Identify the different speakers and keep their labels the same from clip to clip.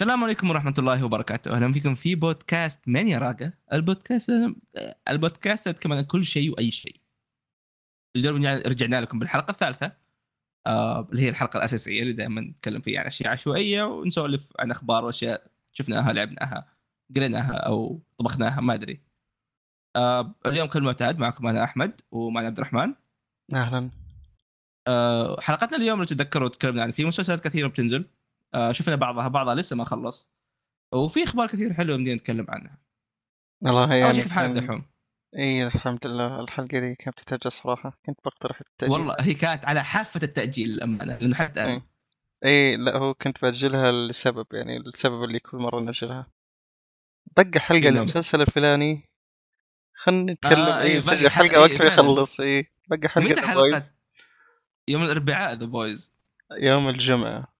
Speaker 1: السلام عليكم ورحمة الله وبركاته، أهلا فيكم في بودكاست من يراقة، البودكاست البودكاست يتكلم عن كل شيء وأي شيء. اليوم رجع- رجعنا لكم بالحلقة الثالثة آه، اللي هي الحلقة الأساسية اللي دائما نتكلم فيها عن أشياء عشوائية ونسولف عن أخبار وأشياء شفناها لعبناها قريناها أو طبخناها ما أدري. آه، اليوم كالمعتاد معكم أنا أحمد ومعنا عبد الرحمن.
Speaker 2: اهلا
Speaker 1: آه، حلقتنا اليوم لو تتذكروا تكلمنا عن في مسلسلات كثيره بتنزل آه، شفنا بعضها بعضها لسه ما خلص وفي اخبار كثير حلوه يمدينا نتكلم عنها
Speaker 2: والله
Speaker 1: اول
Speaker 2: يعني
Speaker 1: شيء كيف حالك
Speaker 2: كان-
Speaker 1: دحوم؟
Speaker 2: اي الحمد لله الحلقه دي كانت تتاجل صراحه كنت بقترح التاجيل
Speaker 1: والله هي كانت على حافه التاجيل للامانه لانه حتى
Speaker 2: إيه.
Speaker 1: أنا.
Speaker 2: اي لا هو كنت باجلها لسبب يعني السبب اللي كل مره ناجلها دق حلقه
Speaker 1: نعم.
Speaker 2: للمسلسل الفلاني خلنا نتكلم
Speaker 1: آه، إيه،
Speaker 2: اي
Speaker 1: بقى
Speaker 2: نسجل
Speaker 1: حلقة-
Speaker 2: حلقه وقت
Speaker 1: إيه،
Speaker 2: ما
Speaker 1: فعلاً.
Speaker 2: يخلص اي بقى حلقه
Speaker 1: متى
Speaker 2: The
Speaker 1: حلقه
Speaker 2: Boys
Speaker 1: يوم الاربعاء ذا بويز
Speaker 2: يوم الجمعه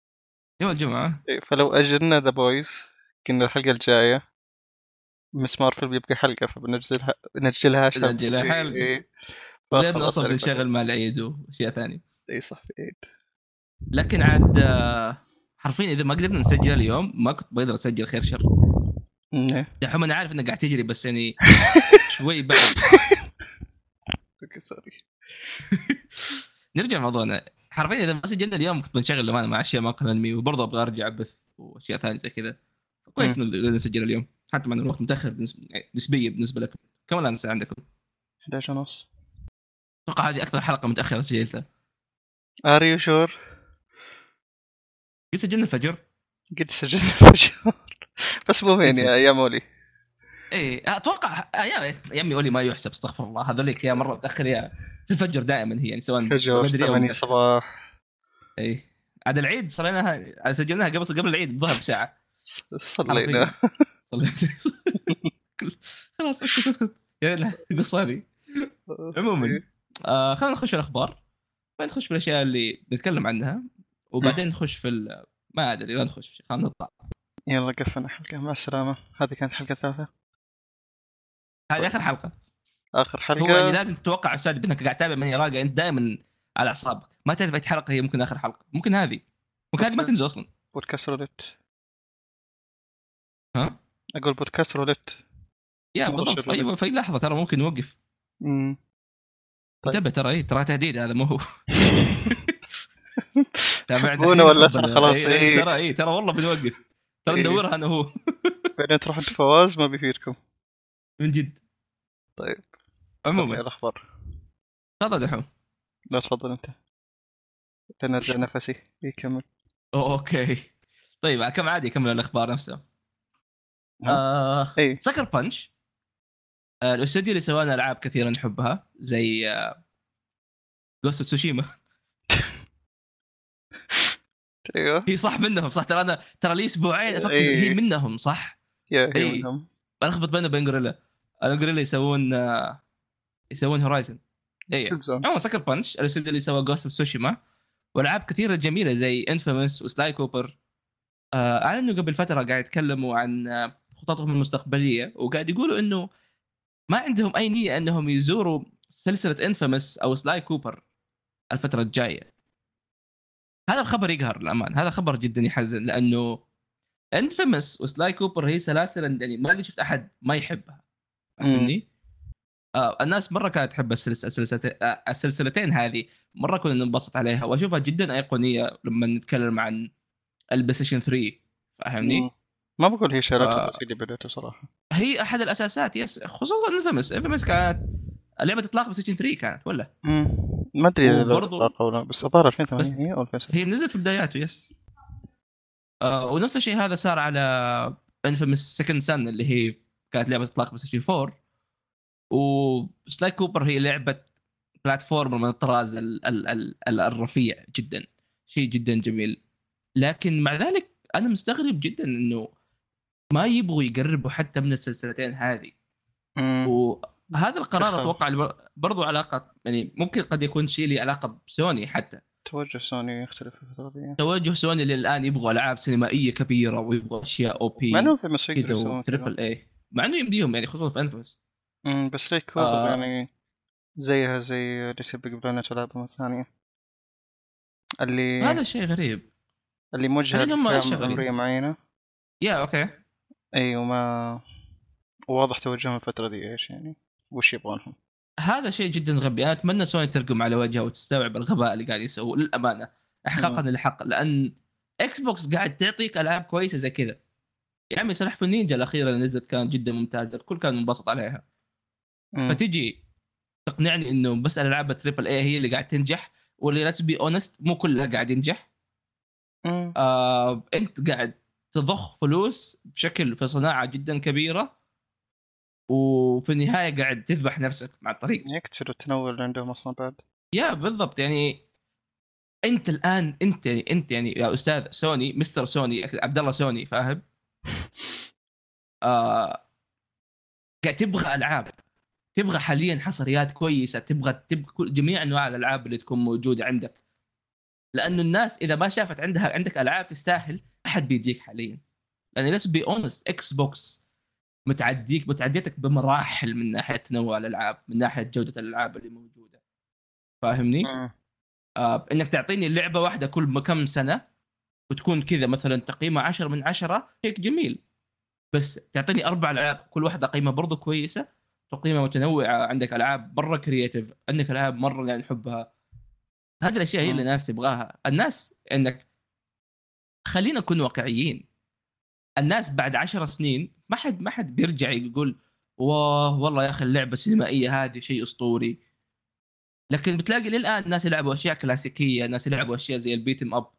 Speaker 1: يوم الجمعه
Speaker 2: إيه، فلو اجلنا ذا بويز كنا الحلقه الجايه مس مارفل بيبقى حلقه فبنجلها نجلها عشان
Speaker 1: نجلها
Speaker 2: إيه،
Speaker 1: حلقة.
Speaker 2: إيه.
Speaker 1: لان
Speaker 2: فخلاص
Speaker 1: اصلا
Speaker 2: يعني
Speaker 1: بنشغل مع العيد واشياء ثانيه
Speaker 2: اي صح في عيد
Speaker 1: لكن عاد آه، حرفيا اذا ما قدرنا نسجل اليوم ما كنت بقدر اسجل خير شر
Speaker 2: نعم.
Speaker 1: دحوم انا عارف انك قاعد تجري بس يعني شوي بعد
Speaker 2: اوكي سوري
Speaker 1: نرجع لموضوعنا حرفيا اذا ما سجلنا اليوم كنت بنشغل الامانه مع اشياء ما قلنا علمي وبرضه ابغى ارجع ابث واشياء ثانيه زي كذا كويس
Speaker 2: مم.
Speaker 1: انه قدرنا نسجل اليوم حتى مع إن الوقت متاخر بالنسبة- يعني نسبيا بالنسبه لكم كم الان الساعه عندكم؟
Speaker 2: 11 ونص
Speaker 1: اتوقع هذه اكثر حلقه متاخره سجلتها
Speaker 2: ار يو شور
Speaker 1: قد سجلنا الفجر؟
Speaker 2: قد سجلت الفجر بس مو يعني
Speaker 1: نسيت.
Speaker 2: يا مولي
Speaker 1: ايه اتوقع آه، يا يا امي قولي ما يحسب استغفر الله هذوليك يا مره متاخر يا في الفجر دائما هي يعني سواء
Speaker 2: فجر
Speaker 1: بدري أو
Speaker 2: 8
Speaker 1: متأخر.
Speaker 2: صباح
Speaker 1: ايه عاد العيد صليناها سجلناها قبل قبل العيد الظهر بساعه
Speaker 2: ص- صلينا
Speaker 1: صليت خلاص اسكت اسكت يا لا القصه هذه عموما
Speaker 2: إيه.
Speaker 1: آه خلينا نخش في الاخبار بعدين نخش في الاشياء اللي نتكلم عنها وبعدين نخش في ال- ما ادري لا نخش في شيء خلينا نطلع
Speaker 2: يلا قفلنا حلقة مع السلامة هذه كانت حلقة ثالثة
Speaker 1: هذه اخر حلقه
Speaker 2: آخر
Speaker 1: هو يعني
Speaker 2: حلقة
Speaker 1: لازم تتوقع استاذ بانك قاعد تتابع من يراقع انت دائما على اعصابك ما تعرف اي حلقه هي ممكن اخر حلقه ممكن هذه ممكن هذه ما تنزل اصلا
Speaker 2: بودكاست رولت
Speaker 1: ها؟
Speaker 2: أقول بودكاست رولت
Speaker 1: يا
Speaker 2: مرة
Speaker 1: بالضبط
Speaker 2: شغلت.
Speaker 1: ايوه في لحظه ترى ممكن نوقف
Speaker 2: مم. طيب.
Speaker 1: انتبه ترى ايه ترى تهديد هذا مو هو تابعنا
Speaker 2: تحبونا ولا
Speaker 1: حبنا.
Speaker 2: لا؟ خلاص،
Speaker 1: إيه،
Speaker 2: إيه.
Speaker 1: ترى ايه ترى والله بنوقف ترى
Speaker 2: إيه.
Speaker 1: ندورها انا هو
Speaker 2: بعدين تروح عند فواز ما بيفيدكم
Speaker 1: من جد
Speaker 2: طيب.
Speaker 1: عموما
Speaker 2: الأخبار
Speaker 1: تفضل دحوم
Speaker 2: لا تفضل أنت لأن أرجع نفسي يكمل
Speaker 1: أوه، اوكي طيب كم عادي كمل الاخبار نفسها
Speaker 2: ها؟
Speaker 1: آه
Speaker 2: إي
Speaker 1: سكر بانش آه الاستوديو اللي سوانا العاب كثيره نحبها زي آه، جوست تسوشيما
Speaker 2: أيوه
Speaker 1: هي صح منهم صح ترى انا ترى لي اسبوعين افكر
Speaker 2: إي.
Speaker 1: هي منهم صح
Speaker 2: يا هي
Speaker 1: إيه.
Speaker 2: منهم
Speaker 1: بلخبط بينه وبين جوريلا أنا جوريلا يسوون آه، يسوون إيه. هورايزن اي
Speaker 2: تبزون.
Speaker 1: عموما سكر بانش الاستوديو اللي سوى جوست اوف سوشيما والعاب كثيره جميله زي انفيمس وسلاي كوبر آه، اعلنوا قبل فتره قاعد يتكلموا عن آه، خططهم المستقبليه وقاعد يقولوا انه ما عندهم اي نيه انهم يزوروا سلسله انفيمس او سلاي كوبر الفتره الجايه هذا الخبر يقهر للأمان هذا خبر جدا يحزن لانه انفيمس وسلاي كوبر هي سلاسل يعني ما قد شفت احد ما يحبها فاهمني؟ آه الناس مره كانت تحب السلس- السلسلتين آه السلسلتين هذه مره كنا ننبسط عليها واشوفها جدا ايقونيه لما نتكلم عن البلايستيشن 3 فاهمني؟
Speaker 2: مم. ما بقول هي شالته
Speaker 1: آه.
Speaker 2: بس هي اللي بدأته صراحة
Speaker 1: هي احد الاساسات يس خصوصا انفيمس انفيمس كانت لعبه اطلاق بلايستيشن 3 كانت ولا
Speaker 2: مم. ما ادري اذا
Speaker 1: وبرضو-
Speaker 2: برضو... او لا بس الظاهر 2008
Speaker 1: بس-
Speaker 2: هي او 2007
Speaker 1: هي نزلت في بداياته يس آه ونفس الشيء هذا صار على انفيمس سكند سن اللي هي كانت لعبه اطلاق بلايستيشن 4 وسلاي كوبر هي لعبه بلاتفورمر من الطراز ال ال ال ال الرفيع جدا شيء جدا جميل لكن مع ذلك انا مستغرب جدا انه ما يبغوا يقربوا حتى من السلسلتين هذه
Speaker 2: مم.
Speaker 1: وهذا القرار
Speaker 2: أخاف.
Speaker 1: اتوقع اللي بر- برضو علاقه يعني ممكن قد يكون شيء له علاقه بسوني حتى
Speaker 2: توجه سوني يختلف في الفترة ذي
Speaker 1: توجه سوني اللي الان يبغوا العاب سينمائيه كبيره ويبغوا اشياء او بي
Speaker 2: مع انهم في مصر يقدروا
Speaker 1: كذا
Speaker 2: يسوون كذا.
Speaker 1: تربل اي مع انه يمديهم يعني خصوصا في انفس
Speaker 2: مم، بس ليك
Speaker 1: آه.
Speaker 2: آه. يعني زيها زي ليتل بيج بلانت العابهم الثانيه اللي
Speaker 1: هذا شيء غريب
Speaker 2: إيه. اللي موجهه
Speaker 1: خلينا هم
Speaker 2: لفئة
Speaker 1: شغالين.
Speaker 2: عمريه معينه
Speaker 1: يا اوكي
Speaker 2: ايوه ما واضح توجههم الفترة دي ايش يعني وش يبغونهم
Speaker 1: هذا شيء جدا غبي انا اتمنى سوني ترقم على وجهه وتستوعب الغباء اللي قاعد يسووه للامانه احقاقا
Speaker 2: مم.
Speaker 1: للحق لان اكس بوكس قاعد تعطيك العاب كويسه زي كذا يا عمي سلاحف النينجا الاخيره اللي نزلت كانت جدا ممتازه الكل كان منبسط عليها
Speaker 2: مم.
Speaker 1: فتجي تقنعني انه بس الالعاب التريبل اي هي اللي قاعد تنجح واللي لا بي اونست مو كلها قاعد ينجح
Speaker 2: مم.
Speaker 1: آه انت قاعد تضخ فلوس بشكل في صناعه جدا كبيره وفي النهايه قاعد تذبح نفسك مع الطريق
Speaker 2: يكتسروا التنوع اللي عندهم اصلا بعد
Speaker 1: يا بالضبط يعني انت الان انت يعني انت يعني يا استاذ سوني مستر سوني عبد الله سوني فاهم؟ آه قاعد تبغى العاب تبغى حاليا حصريات كويسه تبغى تبغى كل- جميع انواع الالعاب اللي تكون موجوده عندك لانه الناس اذا ما شافت عندها عندك العاب تستاهل احد بيجيك حاليا لان ليتس بي اونست اكس بوكس متعديك متعديتك بمراحل من ناحيه تنوع الالعاب من ناحيه جوده الالعاب اللي موجوده فاهمني؟
Speaker 2: مم.
Speaker 1: آه، انك تعطيني لعبه واحده كل ما كم سنه وتكون كذا مثلا تقييمها 10 من 10 شيء جميل بس تعطيني اربع العاب كل واحده قيمه برضو كويسه تقييمها متنوعه عندك العاب مره كرييتيف عندك العاب مره يعني نحبها هذه الاشياء هي اللي
Speaker 2: مم.
Speaker 1: الناس تبغاها الناس انك خلينا نكون واقعيين الناس بعد عشر سنين ما حد ما حد بيرجع يقول واه والله يا اخي اللعبه السينمائيه هذه شيء اسطوري لكن بتلاقي للان ناس يلعبوا اشياء كلاسيكيه ناس يلعبوا اشياء زي البيتم اب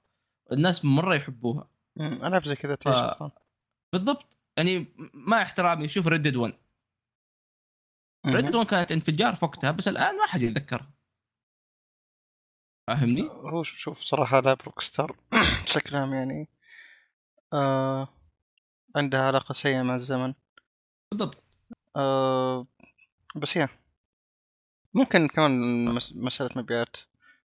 Speaker 1: الناس مره يحبوها
Speaker 2: مم. العاب زي كذا تعيش
Speaker 1: آه.
Speaker 2: اصلا
Speaker 1: بالضبط يعني مع احترامي شوف ريدد 1
Speaker 2: مم.
Speaker 1: ريدد 1 كانت انفجار في وقتها بس الان ما حد يتذكرها فاهمني؟
Speaker 2: هو ش- شوف صراحة ألعاب روك ستار بشكل عام يعني آه عندها علاقة سيئة مع الزمن
Speaker 1: بالضبط
Speaker 2: آه بس يا ممكن كمان مس- مسألة مبيعات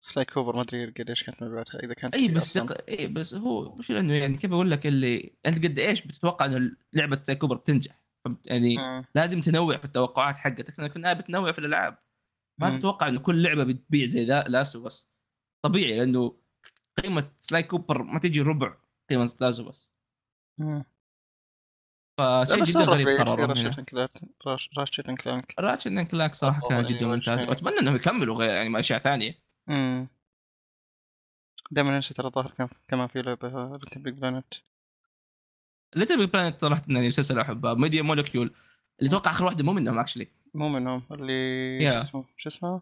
Speaker 2: سلاي كوبر ما أدري قد إيش كانت مبيعاتها إذا كانت
Speaker 1: اي إيه،
Speaker 2: كبيرة
Speaker 1: بس
Speaker 2: إيه، أصلاً.
Speaker 1: دق... اي بس هو مش لانه يعني كيف اقول لك اللي انت قد ايش بتتوقع انه لعبه زي كوبر بتنجح فهمت؟ يعني
Speaker 2: مم.
Speaker 1: لازم تنوع في التوقعات حقتك لانك في النهايه بتنوع في الالعاب ما
Speaker 2: مم.
Speaker 1: تتوقع انه كل لعبه بتبيع زي ذا لاست اوف اس طبيعي لانه قيمه سلاي كوبر ما تجي ربع قيمه لاست اوف اس
Speaker 2: مم.
Speaker 1: فشيء
Speaker 2: بس إيه، يعني،
Speaker 1: جدا
Speaker 2: صار
Speaker 1: غريب
Speaker 2: ربيع في
Speaker 1: قرروا هنا.
Speaker 2: راشد اند كلانك- راش- راشد اند كلانك
Speaker 1: راتشن اند كلاك صراحه كان
Speaker 2: أفضل
Speaker 1: جدا
Speaker 2: أنيميشن.
Speaker 1: ممتاز واتمنى انهم يكملوا غير يعني مع اشياء ثانيه
Speaker 2: مم. دائما انسى ترى الظاهر كان كمان في لعبة آه، ليتل بيج بلانت
Speaker 1: ليتل بيج بلانت صراحه يعني مسلسل احبه ميديا مولكيول اللي اتوقع اخر واحده مو منهم اكشلي
Speaker 2: مو منهم اللي
Speaker 1: يا.
Speaker 2: شو اسمه شو اسمه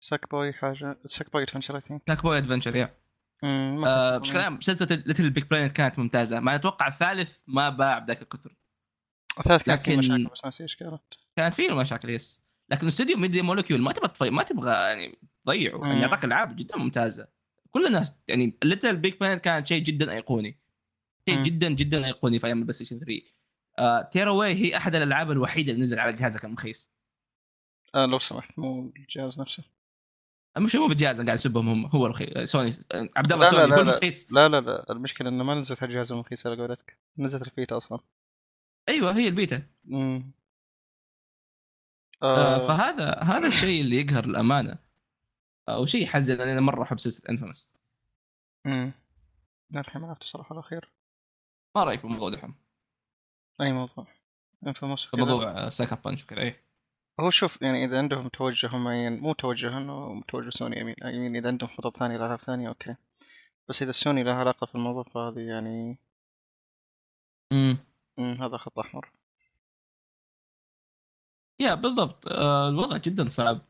Speaker 2: ساك بوي حاجة ساك بوي ادفنشر اي ثينك
Speaker 1: بلاك بوي ادفنشر يا
Speaker 2: Mm,
Speaker 1: آه، بشكل عام سلسله ليتل بيج بلانت كانت ممتازه مع إن اتوقع الثالث ما باع بذاك الكثر
Speaker 2: الثالث كان لكن...
Speaker 1: لكن-
Speaker 2: مشاكل بس ناسي ايش كانت
Speaker 1: كان فيه مشاكل يس لكن استوديو ميديا مولكيول ما تبغى تفي... ما تبغى يعني تضيعه
Speaker 2: مم.
Speaker 1: يعني يعطاك العاب جدا ممتازه كل الناس يعني ليتل بيج بلانت كانت شيء جدا ايقوني شيء
Speaker 2: مم.
Speaker 1: جدا جدا ايقوني في ايام البلاي ستيشن 3 آه، تير اواي هي احد الالعاب الوحيده اللي نزل على جهازك المخيس
Speaker 2: آه لو سمحت مو الجهاز نفسه
Speaker 1: مش هو بالجهاز أنا قاعد يسبهم هم هو رخيص سوني عبد
Speaker 2: لا،
Speaker 1: الله
Speaker 2: لا،
Speaker 1: سوني
Speaker 2: لا،
Speaker 1: هو
Speaker 2: لا.
Speaker 1: رخيص
Speaker 2: لا لا لا المشكلة انه ما نزلت على الجهاز المخيس على قولتك نزلت الفيتا اصلا
Speaker 1: ايوه هي البيتا
Speaker 2: امم
Speaker 1: آه،
Speaker 2: آه
Speaker 1: فهذا هذا الشيء اللي يقهر الامانه آه، وشيء يحزن لأن انا مره احب سلسله انفمس
Speaker 2: مم. لا الحين ما عرفت صراحة الاخير
Speaker 1: ما رايك بالموضوع دحوم
Speaker 2: اي موضوع انفيموس
Speaker 1: موضوع ساكر بانش وكذا ايه
Speaker 2: هو شوف يعني اذا عندهم توجه معين مو توجه انه توجه سوني يمين يمين اذا عندهم خطط ثانيه لالعاب ثانيه اوكي بس اذا سوني لها علاقه في الموضوع فهذه يعني
Speaker 1: امم
Speaker 2: مم، هذا خط احمر
Speaker 1: يا بالضبط آه، الوضع جدا صعب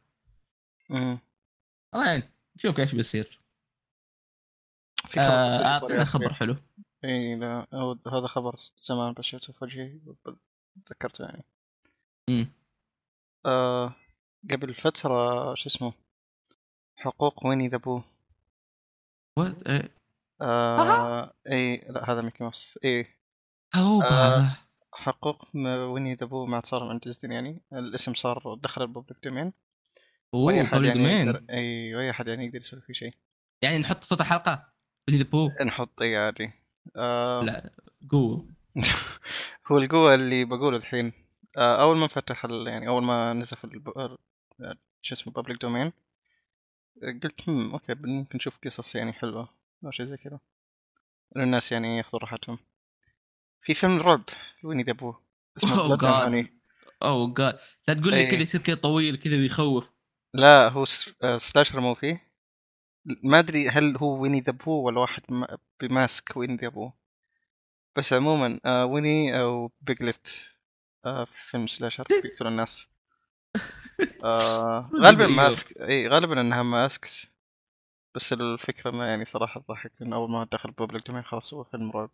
Speaker 2: مم.
Speaker 1: الله يعين نشوف ايش بيصير
Speaker 2: في خبر
Speaker 1: آه،
Speaker 2: بس-
Speaker 1: اعطينا خبر حلو
Speaker 2: اي لا هو- هذا خبر زمان بس شفته في وجهي ب- ذكرته يعني
Speaker 1: امم
Speaker 2: آه قبل فتره شو اسمه حقوق ويني ذا بو
Speaker 1: وات إيه.
Speaker 2: آه اي لا هذا ميكي ماوس اي
Speaker 1: هو
Speaker 2: آه.
Speaker 1: هذا
Speaker 2: حقوق م- ويني ذا بو ما عاد صار عند ديزني يعني الاسم صار دخل الببليك دومين
Speaker 1: اوه
Speaker 2: واي احد
Speaker 1: قبل
Speaker 2: يعني
Speaker 1: دومين
Speaker 2: يقدر اي واي احد يعني يقدر يسوي فيه شيء
Speaker 1: يعني نحط صوت الحلقه اللي بو
Speaker 2: نحط اي عادي آه
Speaker 1: لا. قوه
Speaker 2: هو القوة اللي بقوله الحين آه اول ما فتح ال... يعني اول ما نزل في الب... آه، شو اسمه بابليك دومين قلت هم اوكي ممكن نشوف قصص يعني حلوة او شيء زي كذا إنه الناس يعني ياخذوا راحتهم في فيلم رعب ويني ذا بوه
Speaker 1: Oh
Speaker 2: اسمه Blood and
Speaker 1: God.
Speaker 2: Honey.
Speaker 1: اوه جاد Oh, لا تقول لي
Speaker 2: إيه.
Speaker 1: كذا يصير كذا طويل كذا بيخوف
Speaker 2: لا هو س- آه، سلاشر مو فيه ما ادري هل هو ويني ذا بو ولا واحد ما- بماسك ويني ذا بو بس عموما آه، ويني او بيجلت آه، في فيلم سلاشر بيقتلوا الناس آه، غالبا
Speaker 1: أيوه.
Speaker 2: ماسك اي غالبا انها ماسكس بس الفكره انه يعني صراحه تضحك انه اول ما دخل بوبليك دومين خلاص هو فيلم رعب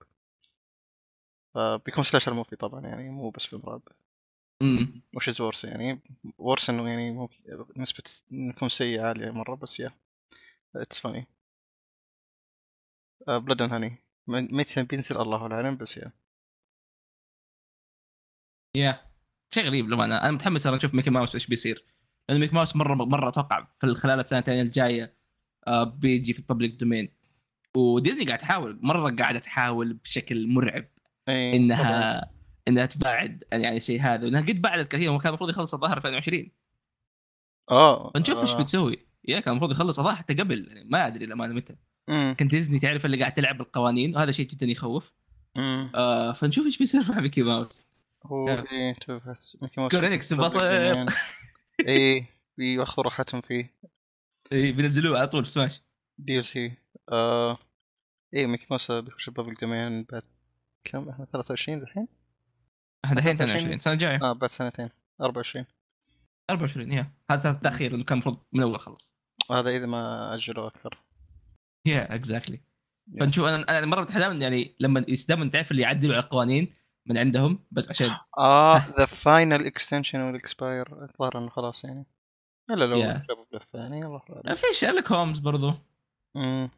Speaker 2: آه، فبيكون سلاشر موفي طبعا يعني مو بس فيلم رعب
Speaker 1: امم
Speaker 2: وش از ورس يعني ورس انه يعني ممكن نسبة انكم سيئة عالية مرة بس يا اتس فاني بلاد اند هاني متى بينزل الله العالم بس يا
Speaker 1: يا شيء غريب للامانه انا متحمس انا اشوف ميكي ماوس ايش بيصير لان ميكي ماوس مره مره اتوقع في خلال السنتين الجايه آه، بيجي في الببليك دومين وديزني قاعد تحاول مره قاعده تحاول بشكل مرعب
Speaker 2: اي طبعاً.
Speaker 1: انها انها تبعد يعني الشيء هذا وانها قد بعدت كثير وكان المفروض يخلص الظاهر 2020
Speaker 2: اه
Speaker 1: فنشوف ايش
Speaker 2: آه،
Speaker 1: بتسوي يا كان المفروض يخلص الظاهر حتى قبل يعني ما ادري للامانه متى
Speaker 2: أمم،
Speaker 1: كان ديزني تعرف اللي قاعد تلعب بالقوانين وهذا شيء جدا يخوف
Speaker 2: أمم.
Speaker 1: آه فنشوف ايش بيصير مع ميكي ماوس
Speaker 2: هو
Speaker 1: يا.
Speaker 2: إيه، تشوف ميكي موس
Speaker 1: كورينكس
Speaker 2: بيبقى
Speaker 1: انبسط.
Speaker 2: يعني- اي بياخذوا إيه، راحتهم فيه
Speaker 1: إيه، بينزلوه على طول في سماش
Speaker 2: دي ال سي آه، اي ميكي موس بيخش البابليك دومين بعد كم احنا 23 الحين؟
Speaker 1: احنا الحين
Speaker 2: 23.
Speaker 1: 22 السنه الجايه
Speaker 2: اه بعد سنتين 24
Speaker 1: 24 يا هذا تاخير لانه كان المفروض من الاول خلص
Speaker 2: وهذا اذا ما اجلوا اكثر
Speaker 1: يا اكزاكتلي
Speaker 2: Yeah.
Speaker 1: فنشوف انا انا مره بتحلم يعني لما يستدامن تعرف اللي يعدلوا على القوانين من عندهم بس عشان
Speaker 2: اه ذا فاينل اكستنشن والاكسباير الظاهر انه خلاص يعني الا لو
Speaker 1: Yeah.
Speaker 2: جابوا بلف يعني الله أعلم.
Speaker 1: في شيرلوك هومز برضو
Speaker 2: أمم،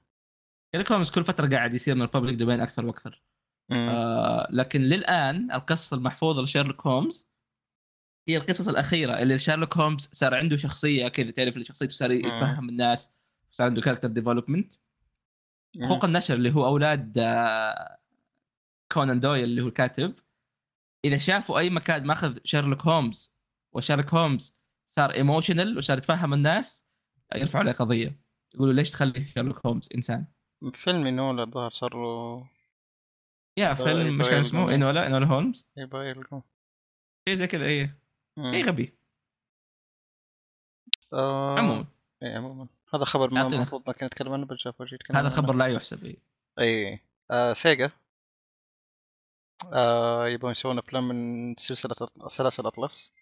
Speaker 1: شيرلوك هومز كل فتره قاعد يصير من الببليك دومين اكثر واكثر
Speaker 2: أمم.
Speaker 1: آه لكن للان القصه المحفوظه لشيرلوك هومز هي القصص الاخيره اللي شيرلوك هومز صار عنده شخصيه كذا تعرف اللي شخصيته صار يتفهم الناس صار عنده كاركتر ديفلوبمنت
Speaker 2: أمم.
Speaker 1: حقوق النشر اللي هو اولاد آه، كونان دويل اللي هو الكاتب اذا شافوا اي مكان ماخذ شيرلوك هومز وشيرلوك هومز صار ايموشنال وصار يتفهم الناس يرفعوا عليه قضيه يقولوا ليش تخلي شيرلوك هومز انسان
Speaker 2: فيلم انولا الظاهر صار له
Speaker 1: يا فيلم مش كان اسمه انولا انولا هولمز
Speaker 2: يبغى يلقوا
Speaker 1: شيء زي كذا ايه
Speaker 2: أمم.
Speaker 1: شيء غبي
Speaker 2: آه،
Speaker 1: عموما
Speaker 2: إيه، عموما هذا خبر ما
Speaker 1: أعطينا.
Speaker 2: المفروض ما كنا نتكلم عنه بس جاف وجهي يتكلم
Speaker 1: هذا
Speaker 2: عنه.
Speaker 1: خبر لا يحسب إيه.
Speaker 2: اي آه، سيجا آه، يبغون يسوون افلام من سلسله أط- سلاسل آه، اطلس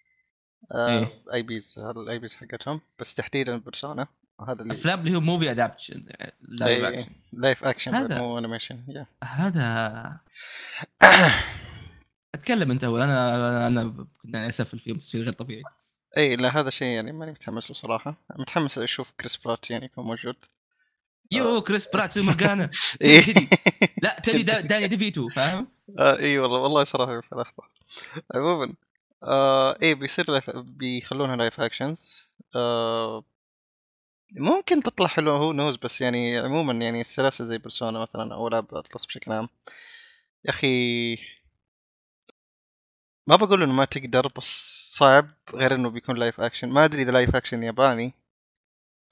Speaker 1: إيه.
Speaker 2: اي بيز الاي بيز حقتهم بس تحديدا بيرسونا هذا اللي
Speaker 1: افلام اللي هو موفي ادابتشن
Speaker 2: إيه. لايف اكشن
Speaker 1: هذا.
Speaker 2: مو انيميشن يا
Speaker 1: هذا اتكلم انت اول انا انا, أنا كنا اسف الفيلم تصوير غير طبيعي
Speaker 2: اي لا هذا شيء يعني ماني متحمس له صراحه متحمس اشوف كريس برات يعني يكون موجود آه.
Speaker 1: يو كريس برات سوي مورجانا
Speaker 2: اي
Speaker 1: تدري.
Speaker 2: إيه.
Speaker 1: لا تدري دا داني ديفيتو فاهم؟
Speaker 2: آه، اي والله والله صراحه في لحظه عموما آه اي بيصير لايف بيخلونها لايف اكشنز آه ممكن تطلع حلوه هو نوز بس يعني عموما يعني السلاسل زي بيرسونا مثلا او العاب اطلس بشكل عام يا اخي ما بقول انه ما تقدر بس صعب غير انه بيكون لايف اكشن ما ادري اذا لايف اكشن ياباني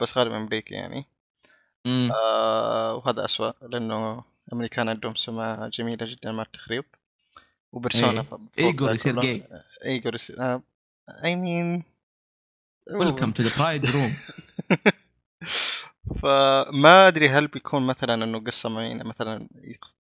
Speaker 2: بس غالبا امريكي يعني
Speaker 1: أمم.
Speaker 2: آه، وهذا أسوأ لأنه الأمريكان عندهم سمعة جميلة جدا مع التخريب وبرسونا
Speaker 1: إيه. ايجور يصير جاي
Speaker 2: ايجور يصير آه، اي مين
Speaker 1: ويلكم تو ذا برايد روم
Speaker 2: فما ادري هل بيكون مثلا انه قصه معينه مثلا يقص-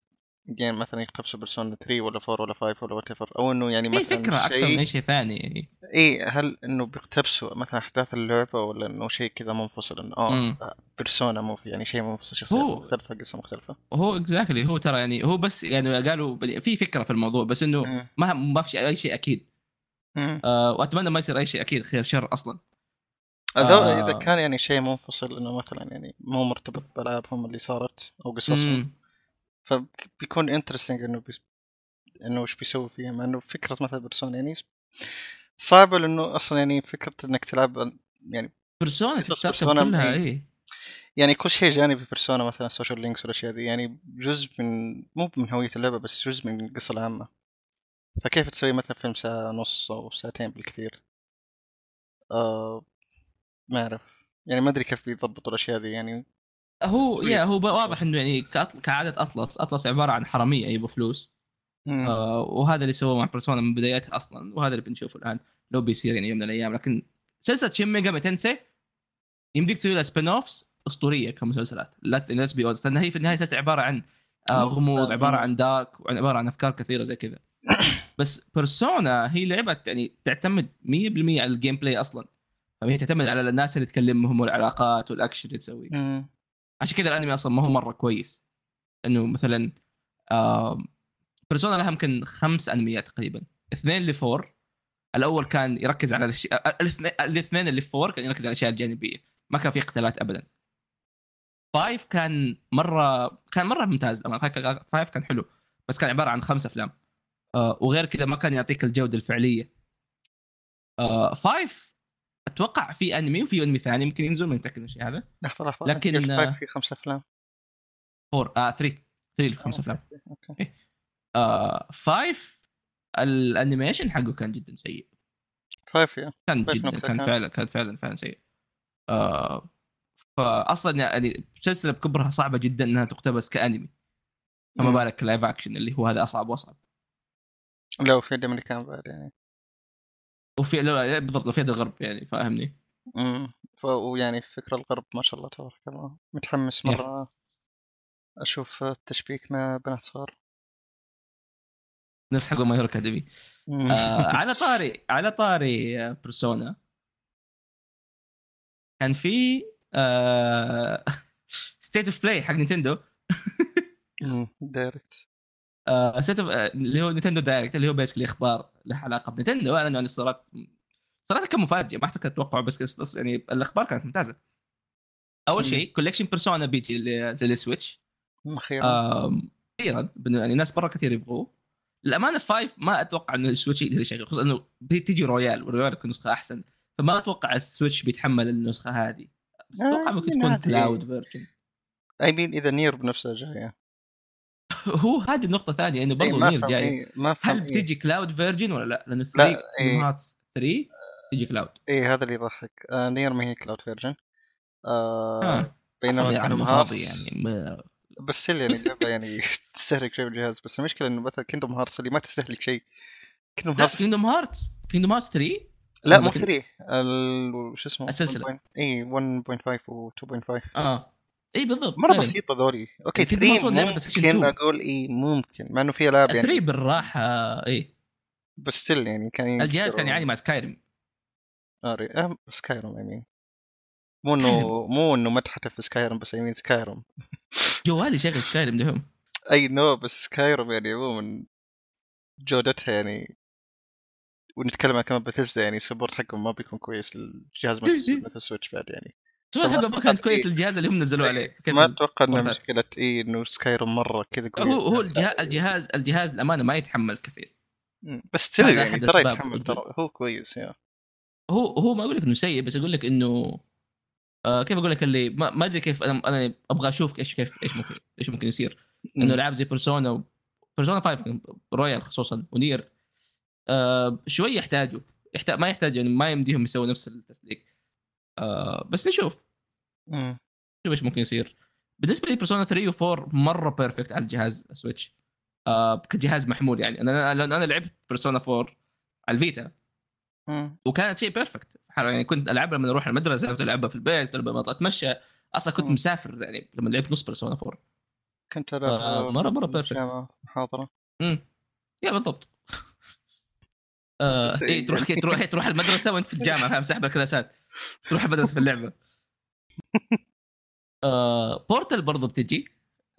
Speaker 2: يعني مثلا يقتبسوا بيرسونا 3 ولا 4 ولا 5 ولا وات او انه يعني مثلا
Speaker 1: في فكره اكثر إيه، من
Speaker 2: شيء-
Speaker 1: اي شيء ثاني يعني
Speaker 2: اي هل انه بيقتبسوا مثلا احداث اللعبه ولا انه شيء كذا منفصل انه
Speaker 1: مم.
Speaker 2: اه بيرسونا مو في يعني شيء منفصل شخصيه
Speaker 1: هو-
Speaker 2: مختلفه قصه مختلفه
Speaker 1: هو اكزاكتلي هو ترى يعني هو بس يعني قالوا بل- في فكره في الموضوع بس انه
Speaker 2: مم.
Speaker 1: ما ما في شيء- اي شيء اكيد
Speaker 2: مم.
Speaker 1: آه واتمنى ما يصير اي شيء اكيد خير شر اصلا
Speaker 2: اذا
Speaker 1: آه.
Speaker 2: اذا كان يعني شيء منفصل انه مثلا يعني مو مرتبط بالعابهم اللي صارت او قصصهم
Speaker 1: أمم.
Speaker 2: فبيكون انترستنج انه بيس... انه وش بيسوي فيها مع انه فكره مثلا بيرسونا يعني صعبه لانه اصلا يعني فكره انك تلعب يعني
Speaker 1: بيرسونا
Speaker 2: قصص
Speaker 1: تترتب
Speaker 2: بيرسونا
Speaker 1: كلها إيه.
Speaker 2: من-
Speaker 1: اي
Speaker 2: يعني كل شيء جانبي بيرسونا مثلا سوشيال لينكس والاشياء ذي يعني جزء من مو من هويه اللعبه بس جزء من القصه العامه فكيف تسوي مثلا فيلم ساعه ونص او ساعتين بالكثير آه ما اعرف يعني ما ادري كيف بيضبطوا الاشياء ذي يعني
Speaker 1: هو
Speaker 2: شوي.
Speaker 1: يا هو ب- واضح انه يعني كأط- كعاده اطلس اطلس عباره عن حراميه يبوا فلوس
Speaker 2: مم.
Speaker 1: آه، وهذا اللي سووه مع بيرسونا من بدايتها اصلا وهذا اللي بنشوفه الان لو بيصير يعني يوم من الايام لكن سلسله شين ميجا تنسي يمديك تسوي لها سبين اوفس اسطوريه كمسلسلات ليتس بي اونست لان هي في النهايه سلسله عباره عن آه، غموض عباره عن دارك وعن- عباره عن افكار كثيره زي كذا بس بيرسونا هي لعبه يعني تعتمد 100% على الجيم بلاي اصلا فهي تعتمد على الناس اللي تكلمهم والعلاقات والاكشن اللي تسويه
Speaker 2: مم.
Speaker 1: عشان كذا الانمي اصلا ما هو مره كويس انه مثلا آم، بيرسونا لها يمكن خمس انميات تقريبا اثنين لفور الاول كان يركز على الاشياء الاثنين- الاثنين اللي فور كان يركز على الاشياء الجانبيه ما كان في قتالات ابدا فايف كان مره كان مره ممتاز للأمانة. فايف كان- فايف كان حلو بس كان عباره عن خمس افلام آه، وغير كذا ما كان يعطيك الجوده الفعليه آه، فايف اتوقع في انمي وفي انمي ثاني يمكن ينزل ما متاكد من الشيء هذا
Speaker 2: لحظة لحظة
Speaker 1: لكن- آه،
Speaker 2: لكن فايف في خمسة افلام
Speaker 1: 4 آه 3 3 لخمس افلام
Speaker 2: اوكي
Speaker 1: إيه. آه 5 الانيميشن حقه كان جدا سيء
Speaker 2: فايف يا
Speaker 1: كان
Speaker 2: طيب،
Speaker 1: جدا
Speaker 2: نفسه
Speaker 1: كان
Speaker 2: كان.
Speaker 1: فعلا كان فعلا فعلا سيء آه فاصلا يعني سلسله بكبرها صعبه جدا انها تقتبس كانمي فما
Speaker 2: مم.
Speaker 1: بالك لايف اكشن اللي هو هذا اصعب واصعب
Speaker 2: لو في الامريكان بعد يعني
Speaker 1: وفي لو لا، بالضبط لو في يد الغرب يعني فاهمني
Speaker 2: امم ف... ويعني فكرة الغرب ما شاء الله تبارك الله متحمس
Speaker 1: يا.
Speaker 2: مرة اشوف التشبيك مع بنات صغار
Speaker 1: نفس حق ماي هيرو اكاديمي
Speaker 2: مم.
Speaker 1: آه على طاري على طاري آه، بيرسونا كان في آه، ستيت اوف بلاي حق نينتندو
Speaker 2: مم. دايركت
Speaker 1: آه، ستيت اوف آه، اللي هو نينتندو دايركت اللي هو بيسكلي اخبار له علاقه بنينتندو اعلنوا عن الصراط صراحه يعني كان مفاجئ ما حتى كنت اتوقعه بس كس- يعني الاخبار كانت ممتازه اول
Speaker 2: مم.
Speaker 1: شيء كوليكشن بيرسونا بيجي لل- للسويتش
Speaker 2: اخيرا
Speaker 1: آم، اخيرا بن- يعني ناس مره كثير يبغوه للامانه فايف ما اتوقع انه السويتش يقدر يشغل خصوصا انه بتجي رويال والرويال تكون نسخه احسن فما اتوقع السويتش بيتحمل النسخه هذه بس اتوقع ممكن
Speaker 2: آه،
Speaker 1: تكون
Speaker 2: هذه-
Speaker 1: كلاود فيرجن
Speaker 2: اي مين اذا نير بنفسها جاية
Speaker 1: هو هذه النقطه الثانيه انه
Speaker 2: إيه،
Speaker 1: برضه
Speaker 2: ما
Speaker 1: نير
Speaker 2: أفهم،
Speaker 1: جاي
Speaker 2: إيه، ما أفهم،
Speaker 1: هل
Speaker 2: إيه.
Speaker 1: بتجي كلاود فيرجن ولا لا؟ لانه 3
Speaker 2: إيه.
Speaker 1: كينجدم هارتس 3 تجي كلاود
Speaker 2: اي هذا اللي يضحك آه نير ما هي كلاود فيرجن آه
Speaker 1: آه.
Speaker 2: بينما
Speaker 1: اصلا
Speaker 2: كينجدم
Speaker 1: العالم
Speaker 2: هارت
Speaker 1: فاضي يعني ما-
Speaker 2: بس اللي يعني اللعبه يعني تستهلك شيء بالجهاز بس المشكله انه مثلا كينجدم هارت اللي ما تستهلك شيء كينجدم
Speaker 1: لا
Speaker 2: هارت
Speaker 1: كينجدم هارتس كينجدم هارتس 3
Speaker 2: لا مو
Speaker 1: قصدك
Speaker 2: 3 ال- شو اسمه إيه،
Speaker 1: السلسلة.
Speaker 2: اي 1.5 و 2.5
Speaker 1: اه اي بالضبط طيب.
Speaker 2: مره
Speaker 1: فعلاً.
Speaker 2: بسيطه ذولي اوكي
Speaker 1: Kingdom
Speaker 2: 3
Speaker 1: Hearts ولا لعبة PlayStation 2.
Speaker 2: ممكن اقول اي ممكن مع انه في العاب
Speaker 1: 3
Speaker 2: يعني
Speaker 1: بالراحه اي
Speaker 2: بس ستيل يعني كان
Speaker 1: إيه.
Speaker 2: آه،
Speaker 1: الجهاز كان يعاني مع سكايرم
Speaker 2: سكايروم اي مين مو انه مو انه ما تحتفل سكايروم بس اي مين سكايروم
Speaker 1: جوالي شغل سكايرم دهم
Speaker 2: اي نو بس سكايروم يعني عموما جودتها يعني ونتكلم عن كمان بثزدا يعني السبورت حقهم ما بيكون كويس للجهاز مثل مثل السويتش بعد يعني
Speaker 1: سؤال حقه ما كان كويس للجهاز اللي هم نزلوا عليه كان-
Speaker 2: ما اتوقع انه
Speaker 1: مرتاح.
Speaker 2: مشكله اي انه إيه سكايروم مره كذا قوي
Speaker 1: هو هو
Speaker 2: الجهاز
Speaker 1: الجهاز الجهاز الجهاز الامانه ما يتحمل كثير
Speaker 2: مم. بس ترى
Speaker 1: هذا
Speaker 2: يعني
Speaker 1: أحد
Speaker 2: ترى
Speaker 1: أسباب
Speaker 2: يتحمل
Speaker 1: وجود-
Speaker 2: ترى هو كويس يعني. يا
Speaker 1: هو هو ما اقول لك انه سيء بس اقول لك انه آه كيف اقول لك اللي ما ما ادري كيف انا انا ابغى اشوف ايش كيف ايش ممكن ايش ممكن يصير انه العاب زي بيرسونا و... بيرسونا 5 رويال خصوصا ونير آه شوي يحتاجوا يحتاج ما يحتاج يعني ما يمديهم يسووا نفس التسليك آه بس نشوف
Speaker 2: مم.
Speaker 1: نشوف ايش ممكن يصير بالنسبه لي بيرسونا 3 و4 مره بيرفكت على الجهاز سويتش آه كجهاز محمول يعني انا لان انا لعبت بيرسونا 4 على الفيتا
Speaker 2: مم.
Speaker 1: وكانت شيء بيرفكت يعني كنت العبها لما اروح المدرسه كنت العبها في البيت لما أطلع اتمشى اصلا كنت
Speaker 2: مم.
Speaker 1: مسافر يعني لما لعبت نص بيرسونا 4
Speaker 2: كنت
Speaker 1: آه، مرة- مرة perfect.
Speaker 2: جامعة، محاضره
Speaker 1: امم يا بالضبط آه
Speaker 2: بس
Speaker 1: إيه تروح
Speaker 2: يعني.
Speaker 1: تروح تروح المدرسه وانت في الجامعه فاهم سحب الكلاسات تروح المدرسه في اللعبه آه بورتل برضو بتجي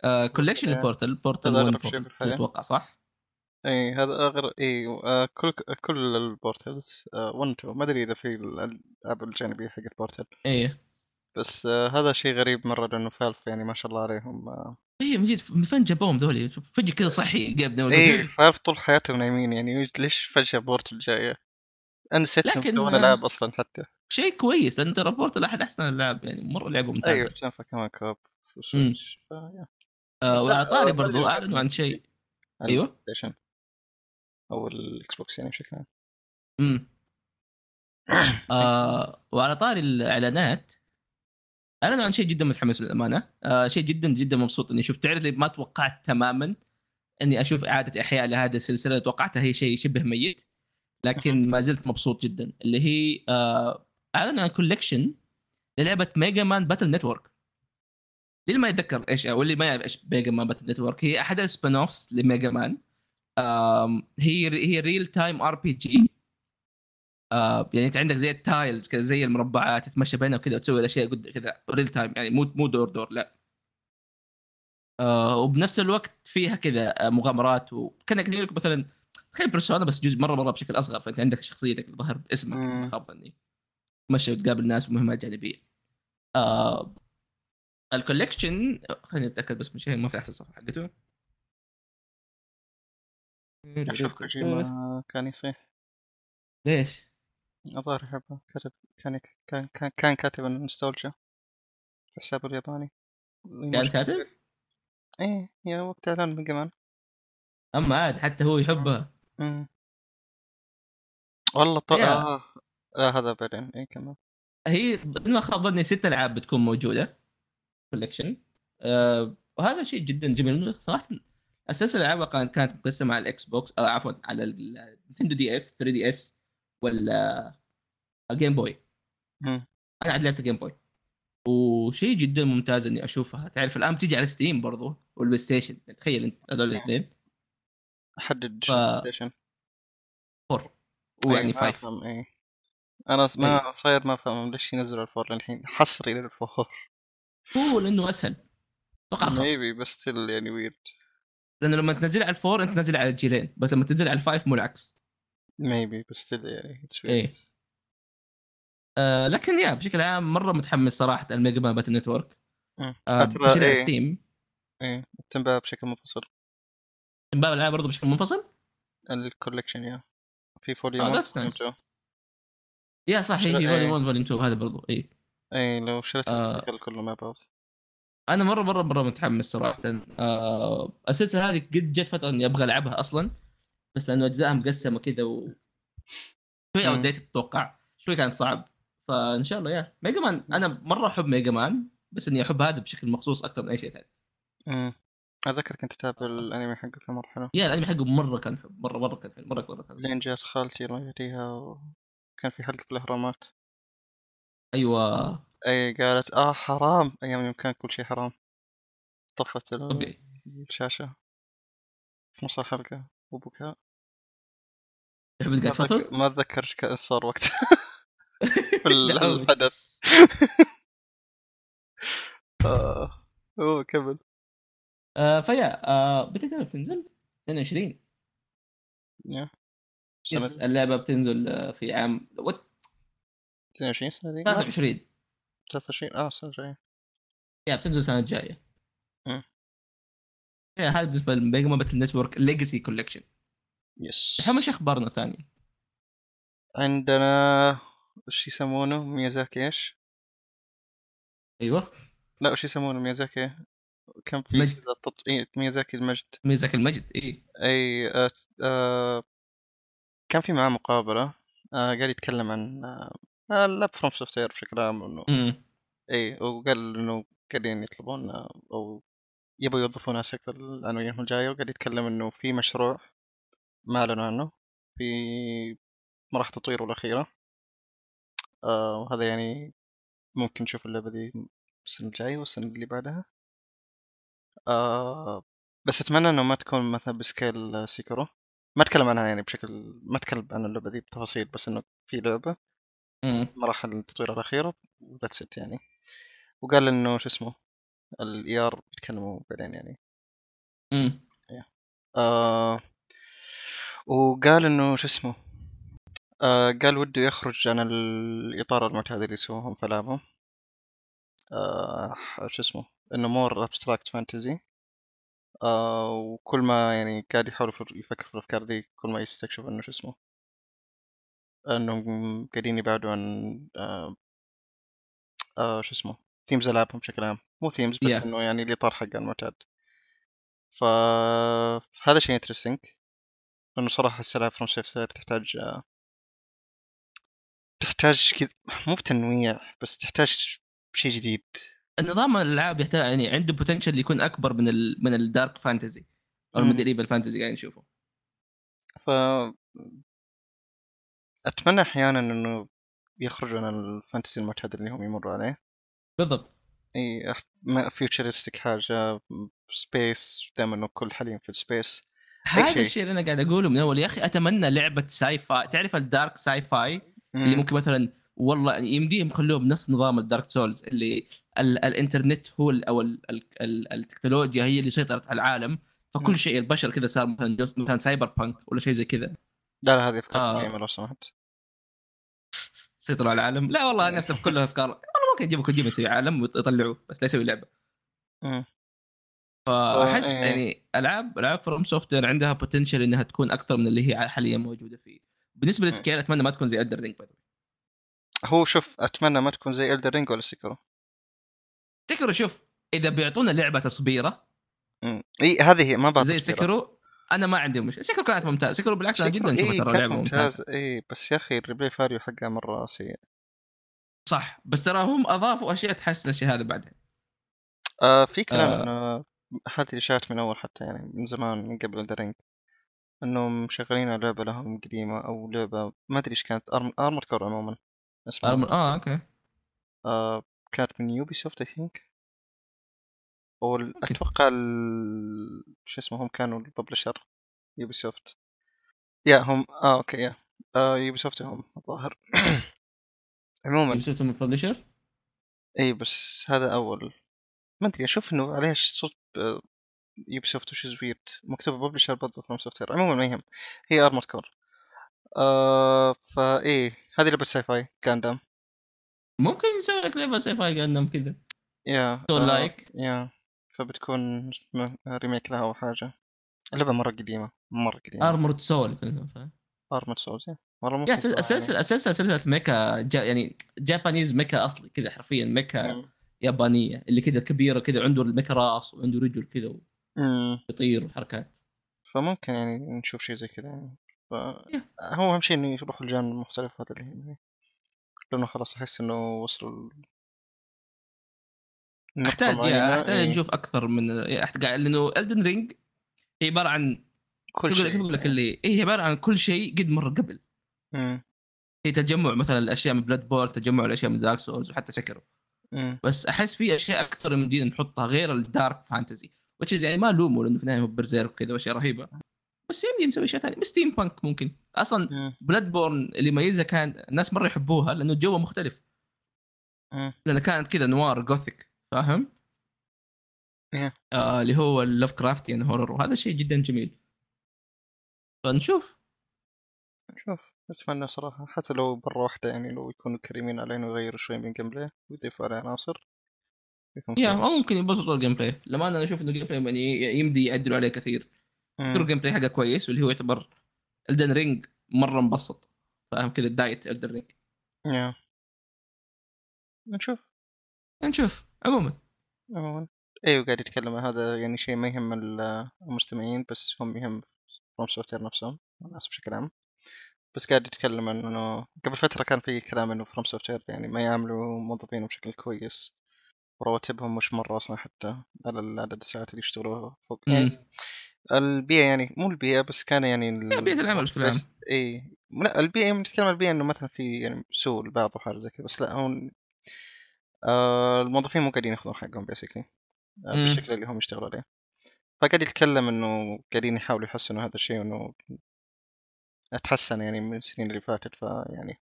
Speaker 1: آه كولكشن
Speaker 2: يا.
Speaker 1: البورتل بورتل
Speaker 2: هذا أغرب
Speaker 1: 1
Speaker 2: إيه. شيء
Speaker 1: بورتل
Speaker 2: بالحياة.
Speaker 1: اتوقع صح؟
Speaker 2: اي هذا اغر اي آه، كل كل آه، البورتلز 1 2 ما ادري اذا في الالعاب الجانبيه حق البورتل
Speaker 1: ايه
Speaker 2: بس آه، هذا شيء غريب مره لانه فالف يعني ما شاء الله عليهم آه،
Speaker 1: ايه من جد من فين جابوهم ذولي فجاه كذا صحي قبل
Speaker 2: اي إيه، فالف طول حياتهم نايمين يعني ليش فجاه بورتل جايه؟ انا نسيت
Speaker 1: لكن-
Speaker 2: انهم يسوون العاب اصلا حتى
Speaker 1: شيء كويس لان ترى بورتل احد احسن الالعاب يعني مره لعبه ممتازه
Speaker 2: ايوه شافها كمان كوب
Speaker 1: مم. آه وعلى طاري برضو اعلنوا عن شيء ايوه
Speaker 2: ستيشن او الاكس بوكس يعني بشكل عام
Speaker 1: امم آه وعلى طاري الاعلانات اعلنوا عن شيء جدا متحمس للامانه آه شيء جدا جدا مبسوط اني شفت تعرف اللي ما توقعت تماما اني اشوف اعاده احياء لهذه السلسله توقعتها هي شيء شبه ميت لكن ما زلت مبسوط جدا اللي هي آه، اعلن عن كولكشن للعبه ميجا مان باتل نتورك للي ما يتذكر ايش واللي ما يعرف ايش ميجا مان باتل نتورك هي احد السبين اوفس لميجا مان آم، هي هي ريل تايم ار بي جي يعني انت عندك زي التايلز كذا زي المربعات تتمشى بينها وكذا وتسوي الاشياء قد- كذا ريل تايم يعني مو مو دور دور لا آه، وبنفس الوقت فيها كذا آه، مغامرات وكانك تقول لك مثلا تخيل بيرسونا بس جزء مره مره بشكل اصغر فانت عندك شخصيتك الظاهر باسمك
Speaker 2: مم.
Speaker 1: ما خاب ظني تمشى وتقابل ناس ومهمات جانبيه آه الكوليكشن خليني اتاكد بس من شيء ما فتحت الصفحه حقته
Speaker 2: اشوف
Speaker 1: إيه.
Speaker 2: كوجيما كان يصيح
Speaker 1: ليش؟
Speaker 2: الظاهر يحبها كتب كان كان كان, كان كاتب انه نوستالجيا في حسابه الياباني
Speaker 1: كان كاتب؟
Speaker 2: ايه يا وقت اعلان ميجا مان
Speaker 1: اما عاد حتى هو يحبها
Speaker 2: مم. والله طلع
Speaker 1: يا.
Speaker 2: آه. لا هذا بعدين إيه، اي كمان
Speaker 1: هي ما خاب ظني ست العاب بتكون موجوده كوليكشن آه وهذا شيء جدا جميل إنه صراحه اساس الالعاب كانت كانت مقسمه على الاكس بوكس آه عفوا على النتندو دي اس 3 دي اس ولا جيم بوي
Speaker 2: مم.
Speaker 1: انا عاد لعبت جيم بوي وشيء جدا ممتاز اني اشوفها تعرف الان بتيجي على ستيم برضو والبلاي ستيشن تخيل انت هذول الاثنين
Speaker 2: حدد
Speaker 1: ف- يعني
Speaker 2: شو البلاي ستيشن
Speaker 1: 4 ويعني
Speaker 2: إيه، ما
Speaker 1: 5
Speaker 2: أفهم، إيه. انا س-
Speaker 1: إيه.
Speaker 2: ما صاير ما افهم ليش ينزلوا الفور الحين حصري
Speaker 1: آه،
Speaker 2: للفور
Speaker 1: هو لانه اسهل اتوقع أرخص.
Speaker 2: ميبي بس still يعني ويرد
Speaker 1: لانه لما تنزل على الفور انت تنزل على الجيلين بس لما تنزل على الفايف مو العكس
Speaker 2: ميبي بس still يعني it's weird.
Speaker 1: ايه آه لكن يا بشكل عام مره متحمس صراحه الميجا مان باتل نتورك
Speaker 2: مم.
Speaker 1: آه
Speaker 2: ترى
Speaker 1: بشيل على
Speaker 2: إيه.
Speaker 1: ستيم
Speaker 2: ايه تنباع بشكل منفصل
Speaker 1: من باب الالعاب برضه بشكل منفصل
Speaker 2: الكوليكشن يا في فوليو
Speaker 1: آه،
Speaker 2: 1
Speaker 1: that's nice.
Speaker 2: فوليو 2.
Speaker 1: يا صح
Speaker 2: شيل-
Speaker 1: هي
Speaker 2: إيه.
Speaker 1: فوليوم 1 فوليوم 2 هذا إيه. برضه اي
Speaker 2: ايه لو شريت
Speaker 1: آه.
Speaker 2: الكل كله مع بعض
Speaker 1: انا مره مره مره متحمس صراحه آه السلسله هذه قد جت فتره اني ابغى العبها اصلا بس لانه اجزائها مقسمه كذا و شوي
Speaker 2: مم.
Speaker 1: اوديت اتوقع شوي كان صعب فان شاء الله يا ميجا مان انا مره احب ميجا مان بس اني احب هذا بشكل مخصوص اكثر من اي شيء ثاني
Speaker 2: امم اتذكر كنت
Speaker 1: آه.
Speaker 2: اتابع الانمي حقه كان مره حلو
Speaker 1: يا الانمي حقه مره كان حب مره مره كان حلو مره مره كان حلو.
Speaker 2: لين جات خالتي الله يهديها وكان في حلقه بالاهرامات
Speaker 1: ايوه
Speaker 2: اي قالت اه حرام ايام يوم كان كل شيء حرام طفت ال-
Speaker 1: طبيعي
Speaker 2: الشاشه في نص الحلقه وبكاء
Speaker 1: تحب
Speaker 2: ما
Speaker 1: تقعد
Speaker 2: أتذكر-
Speaker 1: تفطر؟
Speaker 2: ما اتذكر ايش كان صار وقتها في
Speaker 1: لا، أول.
Speaker 2: الحدث آه، اوه كمل
Speaker 1: آه فيا آه متى كانت بتنزل؟ 22
Speaker 2: يا. سنة
Speaker 1: يس اللعبه بتنزل آه، في عام وات-
Speaker 2: 22 سنة دي؟ لا،
Speaker 1: 23
Speaker 2: 23 اه السنة الجاية
Speaker 1: يا بتنزل السنه الجايه
Speaker 2: مم.
Speaker 1: يا هذا بالنسبه للميجا مان باتل نتورك ليجاسي كولكشن
Speaker 2: يس
Speaker 1: الحين ايش اخبارنا الثانيه؟
Speaker 2: عندنا وش يسمونه ميازاكي ايش؟
Speaker 1: ايوه
Speaker 2: لا وش يسمونه ميازاكي كان في
Speaker 1: مجد.
Speaker 2: كذا تط- إيه، ميازاكي المجد
Speaker 1: ميزاك المجد إيه. اي
Speaker 2: اي آه آه كان في معاه مقابلة آه قاعد يتكلم عن آه اللاب فروم سوفت وير بشكل عام انه
Speaker 1: امم
Speaker 2: اي إيه، وقال انه قاعدين يطلبون آه، او يبغوا يوظفوا ناس اكثر العناوين الجاية وقاعد يتكلم انه في مشروع ما اعلنوا عنه في مراحل تطويره الأخيرة آه وهذا يعني ممكن نشوف اللعبة دي السنة الجاية والسنة اللي بعدها آه بس أتمنى إنه ما تكون مثلا بسكيل سيكرو ما أتكلم عنها يعني بشكل ما أتكلم عن اللعبة دي بتفاصيل بس إنه في لعبة
Speaker 1: امم
Speaker 2: مراحل التطوير الأخيرة وذاتس إت يعني وقال إنه شو اسمه الإي آر بيتكلموا بعدين يعني
Speaker 1: امم
Speaker 2: آه وقال انه شو اسمه آه قال وده يخرج عن الاطار المعتاد اللي يسووهم في العابهم آه ح- شو اسمه انه مور ابستراكت فانتزي آه وكل ما يعني قاعد يحاول يفر- يفكر في الافكار دي كل ما يستكشف انه شو اسمه انهم قاعدين يبعدوا عن آه آه شو اسمه ثيمز العابهم بشكل عام مو ثيمز بس
Speaker 1: Yeah.
Speaker 2: انه يعني الاطار حقه المعتاد فهذا شيء انترستنج لانه صراحه السلع فروم سوفت تحتاج آه، تحتاج كذا مو بتنويع بس تحتاج شيء جديد
Speaker 1: النظام الالعاب يحتاج يعني عنده بوتنشل يكون اكبر من ال... من الدارك فانتزي او
Speaker 2: مم.
Speaker 1: الميديفال فانتزي قاعدين نشوفه
Speaker 2: ف اتمنى احيانا انه يخرجوا عن الفانتسي المعتاد اللي هم يمروا عليه
Speaker 1: بالضبط
Speaker 2: اي أح- ما فيوتشرستك حاجه سبيس دائما انه كل حليم في السبيس
Speaker 1: هذا
Speaker 2: شيء.
Speaker 1: الشيء اللي انا قاعد اقوله من اول يا اخي اتمنى لعبه ساي فاي تعرف الدارك ساي فاي اللي ممكن مثلا والله يمديهم يخلوه بنفس نظام الدارك سولز اللي ال الانترنت هو ال او ال ال ال التكنولوجيا هي اللي سيطرت على العالم
Speaker 2: مم.
Speaker 1: فكل شيء البشر كذا صار مثلا جزء- مثلا سايبر بانك ولا شيء زي كذا
Speaker 2: لا لا هذه افكار
Speaker 1: آه.
Speaker 2: قديمه لو سمحت
Speaker 1: سيطروا على العالم لا والله نفسه في كلها افكار والله ممكن يجيبوا كوجيما يسوي عالم ويطلعوه بس لا يسوي لعبه
Speaker 2: مم.
Speaker 1: فاحس
Speaker 2: آه، إيه.
Speaker 1: يعني العاب العاب فروم سوفت وير عندها بوتنشل انها تكون اكثر من اللي هي حاليا موجوده فيه بالنسبه للسكيل اتمنى ما تكون زي الدر رينج
Speaker 2: هو شوف اتمنى ما تكون زي الدر رينج ولا سيكرو
Speaker 1: سكرو شوف اذا بيعطونا لعبه تصبيره
Speaker 2: مم. اي هذه هي ما بعرف
Speaker 1: زي سكرو انا ما عندي مشكله سكرو كانت ممتازه سكرو بالعكس انا جدا
Speaker 2: إيه،
Speaker 1: اشوفها ترى لعبه ممتازه
Speaker 2: اي بس يا اخي الريبلاي فاريو حقها مره سيء
Speaker 1: صح بس ترى هم اضافوا اشياء تحسن الشيء هذا بعدين
Speaker 2: آه في كلام
Speaker 1: آه.
Speaker 2: انه هذه اشاعات من اول حتى يعني من زمان من قبل الدرينج انهم شغالين على لعبه لهم قديمه او لعبه ما ادري ايش كانت أرم... ارمر كور عموما اسمها
Speaker 1: أرمل- اه اوكي
Speaker 2: آه كانت من يوبي سوفت اي ثينك او ال-
Speaker 1: ممكن.
Speaker 2: اتوقع ال... شو اسمه هم كانوا الببلشر يوبي سوفت يا هم اه اوكي يا آه يوبي سوفت هم الظاهر عموما
Speaker 1: يوسف من ببلشر
Speaker 2: اي إيه، بس هذا اول ما ادري اشوف انه عليه صوت آه، يوبي سوفت وش ويرد مكتوب ببلشر برضه فروم سوفت وير عموما ما يهم هي ارمورد كور آه فا ايه هذه لعبه ساي فاي كاندام
Speaker 1: ممكن يسوي لك لعبه سي فاي قدم كذا
Speaker 2: يا
Speaker 1: سو
Speaker 2: آه،
Speaker 1: لايك
Speaker 2: يا فبتكون م- ريميك لها او حاجه اللعبه مره قديمه مره قديمه
Speaker 1: ارمورد سول
Speaker 2: ارمورد سولز والله مو
Speaker 1: يا
Speaker 2: فاكرها يعني.
Speaker 1: سلسله اساسا سلسله ميكا جا يعني جابانيز ميكا اصلي كذا حرفيا ميكا
Speaker 2: مم.
Speaker 1: يابانيه اللي كذا كبيره كذا عنده الميكا راس وعنده رجل كذا
Speaker 2: مم.
Speaker 1: ويطير وحركات
Speaker 2: فممكن يعني نشوف شيء زي كذا يعني ف...
Speaker 1: يا.
Speaker 2: هو اهم شيء انه يروحوا الجانب المختلف هذا اللي هي لانه خلاص احس انه وصلوا ال- النقطة
Speaker 1: احتاج
Speaker 2: معينة،
Speaker 1: يا احتاج
Speaker 2: إيه،
Speaker 1: نشوف اكثر من أحت- قاعد لانه الدن رينج هي عباره عن
Speaker 2: كل
Speaker 1: تقول
Speaker 2: شيء
Speaker 1: لك تقول لك اللي إيه، هي عباره عن كل شيء قد مر قبل
Speaker 2: مم.
Speaker 1: هي تجمع مثلا الاشياء من بلاد بور تجمع الاشياء من دارك سولز وحتى سكروا
Speaker 2: مم.
Speaker 1: بس احس في اشياء اكثر مدينا نحطها غير الدارك فانتزي وتشيز يعني ما الومه لانه في النهايه هو برزيرك وكذا واشياء رهيبه بس يمدي نسوي اشياء ثانيه ستيم بانك ممكن اصلا
Speaker 2: مم.
Speaker 1: بلاد بورن اللي يميزها كان الناس مره يحبوها لانه جوها مختلف
Speaker 2: مم.
Speaker 1: لانه كانت كذا نوار جوثيك فاهم؟
Speaker 2: إيه.
Speaker 1: آه اللي هو اللوف كرافتيان هورر وهذا شيء جدا جميل فنشوف
Speaker 2: نشوف اتمنى صراحة حتى لو مرة واحدة يعني لو يكونوا كريمين علينا ويغيروا شوي من جيم بلاي ويضيفوا عليه عناصر يكون
Speaker 1: يا
Speaker 2: كويس.
Speaker 1: أو ممكن يبسطوا الجيم بلاي لما انا اشوف انه الجيم بلاي يعني يمدي يعدلوا عليه كثير
Speaker 2: مم.
Speaker 1: الجيم بلاي حقه كويس واللي هو يعتبر الدن رينج مره مبسط فاهم كذا الدايت الدن رينج
Speaker 2: يا. نشوف
Speaker 1: نشوف عموما
Speaker 2: عموما ايوه قاعد يتكلم عن هذا يعني شيء ما يهم ال- المستمعين بس هم يهم فروم سوفتوير نفسهم والناس بشكل عام بس قاعد يتكلم عن انه قبل فترة كان في كلام انه فروم سوفتوير يعني ما يعاملوا موظفينهم بشكل كويس ورواتبهم مش مرة اصلا حتى على عدد الساعات اللي يشتغلوها فوق يعني
Speaker 1: مم.
Speaker 2: البيئة يعني مو البيئة بس كان يعني
Speaker 1: يا
Speaker 2: ال-
Speaker 1: بيئه إيه، العمل بشكل عام
Speaker 2: بس اي لا البيئة يعني نتكلم عن البيئة انه مثلا في يعني سوء لبعض وحاجة زي كذا بس لا هون آه الموظفين مو قاعدين ياخذون حقهم بيسكلي
Speaker 1: مم.
Speaker 2: آه بالشكل اللي هم يشتغلوا عليه فقاعد يتكلم انه قاعدين يحاولوا يحسنوا هذا الشيء وانه اتحسن يعني من السنين اللي فاتت فيعني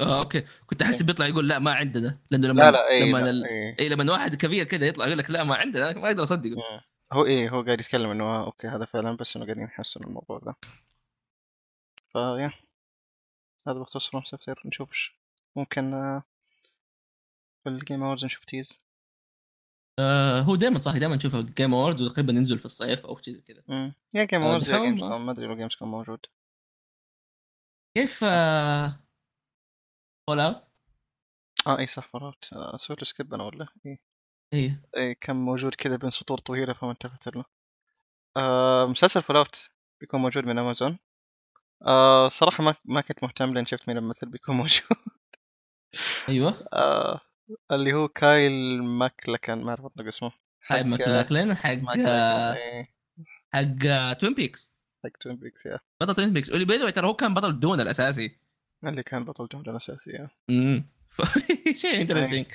Speaker 1: آه اوكي كنت احس بيطلع يقول لا ما عندنا لانه لما
Speaker 2: لا لا اي
Speaker 1: لما
Speaker 2: لا إيه.
Speaker 1: ال-
Speaker 2: اي
Speaker 1: اي لما واحد كبير كذا يطلع يقول لك لا ما عندنا أنا ما اقدر اصدقه
Speaker 2: مم. هو ايه هو قاعد يتكلم انه آه اوكي هذا فعلا بس انه قاعدين يحسنوا الموضوع ذا فيا هذا باختصار فروم سوفتوير نشوف إيش ممكن آه، في الجيم اوردز نشوف تيز
Speaker 1: آه هو دائما صح دائما نشوفه جيم اووردز وتقريبا ينزل في الصيف او شيء زي كذا
Speaker 2: مم. يا جيم
Speaker 1: آه،
Speaker 2: اوردز يا
Speaker 1: نحاول
Speaker 2: جيمز
Speaker 1: ما-
Speaker 2: كوم ما ادري لو جيمز كوم موجود
Speaker 1: كيف آه فول اوت؟
Speaker 2: اه اي صح مرات آه، سويت له سكيب انا ولا اي
Speaker 1: اي
Speaker 2: إيه كان موجود كذا بين سطور طويلة فما انتبهت له آه مسلسل فول اوت بيكون موجود من امازون آه صراحة ما ما كنت مهتم لين شفت مين الممثل بيكون موجود
Speaker 1: ايوه
Speaker 2: آه اللي هو كايل ماكلكن ما اعرف اطلق اسمه آه،
Speaker 1: حق ماكلاكلين حق
Speaker 2: ماكلكن،
Speaker 1: آه،
Speaker 2: إيه.
Speaker 1: حق توين بيكس
Speaker 2: حق توين بيكس يا
Speaker 1: بطل توين بيكس واللي باي ترى هو كان بطل الدون الاساسي
Speaker 2: اللي كان بطل جمله الاساسيه
Speaker 1: امم ف- شيء انترستنج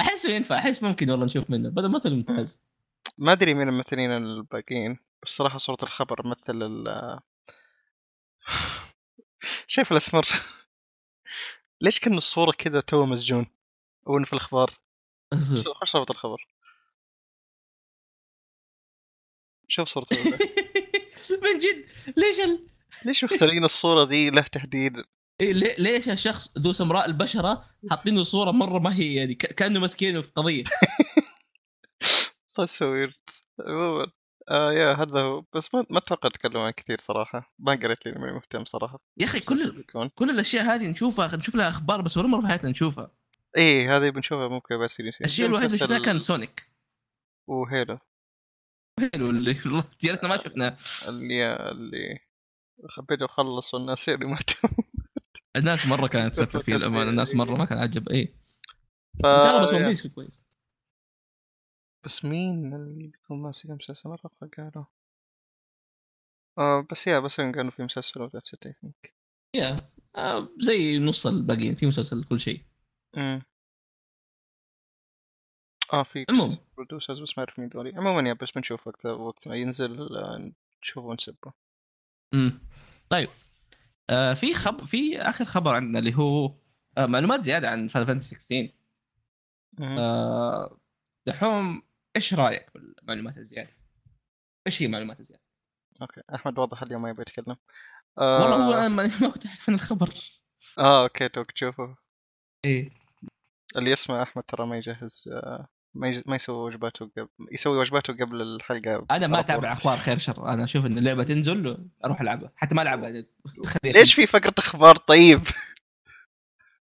Speaker 1: احسه ينفع احس ممكن والله نشوف منه بدل مثل ممتاز
Speaker 2: ما ادري مين الممثلين الباقيين بس صراحه صوره الخبر مثل ال آه، شايف الاسمر ليش كان الصوره كذا تو مسجون او إنه في الاخبار
Speaker 1: أصبر.
Speaker 2: خش رابط الخبر شوف صورته هنا.
Speaker 1: من جد ليش ال...
Speaker 2: ليش مختارين الصوره ذي له تحديد
Speaker 1: إيه، لي- ليش الشخص ذو سمراء البشره حاطين له صوره مره ما هي يعني ك- كانه مسكينه في قضيه
Speaker 2: تصوير عموما آه يا هذا هو بس ما ما اتوقع اتكلم عن كثير صراحه ما قريت لي ماني مهتم صراحه
Speaker 1: يا اخي كل
Speaker 2: بيكون
Speaker 1: كل الاشياء هذه نشوفها نشوف لها اخبار بس ولا مره في حياتنا نشوفها
Speaker 2: ايه هذه بنشوفها ممكن بس يصير
Speaker 1: الشيء الوحيد اللي شفناه
Speaker 2: مسلسل
Speaker 1: كان سونيك
Speaker 2: وهيلو
Speaker 1: حلو اللي والله يا ريتنا
Speaker 2: آه.
Speaker 1: ما شفناه
Speaker 2: اللي اللي بدوا خلصوا الناس اللي ماتوا
Speaker 1: الناس مره كانت تسفل فيه الامانه الناس مره ما كان عجب اي
Speaker 2: ف...
Speaker 1: ان شاء الله بس ون بيس يكون كويس
Speaker 2: بس مين اللي بيكون ماسك مسلسل مرة فقالوا آه بس يا بس إن كانوا في مسلسل وذاتس ات
Speaker 1: يا آه، زي نص الباقيين في مسلسل كل شيء
Speaker 2: امم اه في
Speaker 1: المهم.
Speaker 2: برودوسرز بس ما اعرف مين ذولي عموما يا بس بنشوف وقت وقت ما ينزل آه، نشوفه ونسبه
Speaker 1: امم طيب آه في خب في اخر خبر عندنا اللي هو آه معلومات زياده عن فان فانتسي 16
Speaker 2: مم.
Speaker 1: آه دحوم ايش رايك بالمعلومات الزياده؟ ايش هي المعلومات الزياده؟
Speaker 2: اوكي احمد واضح اليوم ما يبغى يتكلم
Speaker 1: والله هو
Speaker 2: آه...
Speaker 1: انا ما ما كنت اعرف عن الخبر
Speaker 2: اه اوكي توك تشوفه إيه.
Speaker 1: ايه
Speaker 2: اللي يسمع احمد ترى ما يجهز آه، ما يج... ما يسوي وجباته قبل يسوي وجباته قبل الحلقه
Speaker 1: انا ما
Speaker 2: على طول.
Speaker 1: اتابع اخبار خير شر انا اشوف ان اللعبه تنزل اروح العبها حتى ما يعني العبها خليها
Speaker 2: ليش في فقره اخبار طيب؟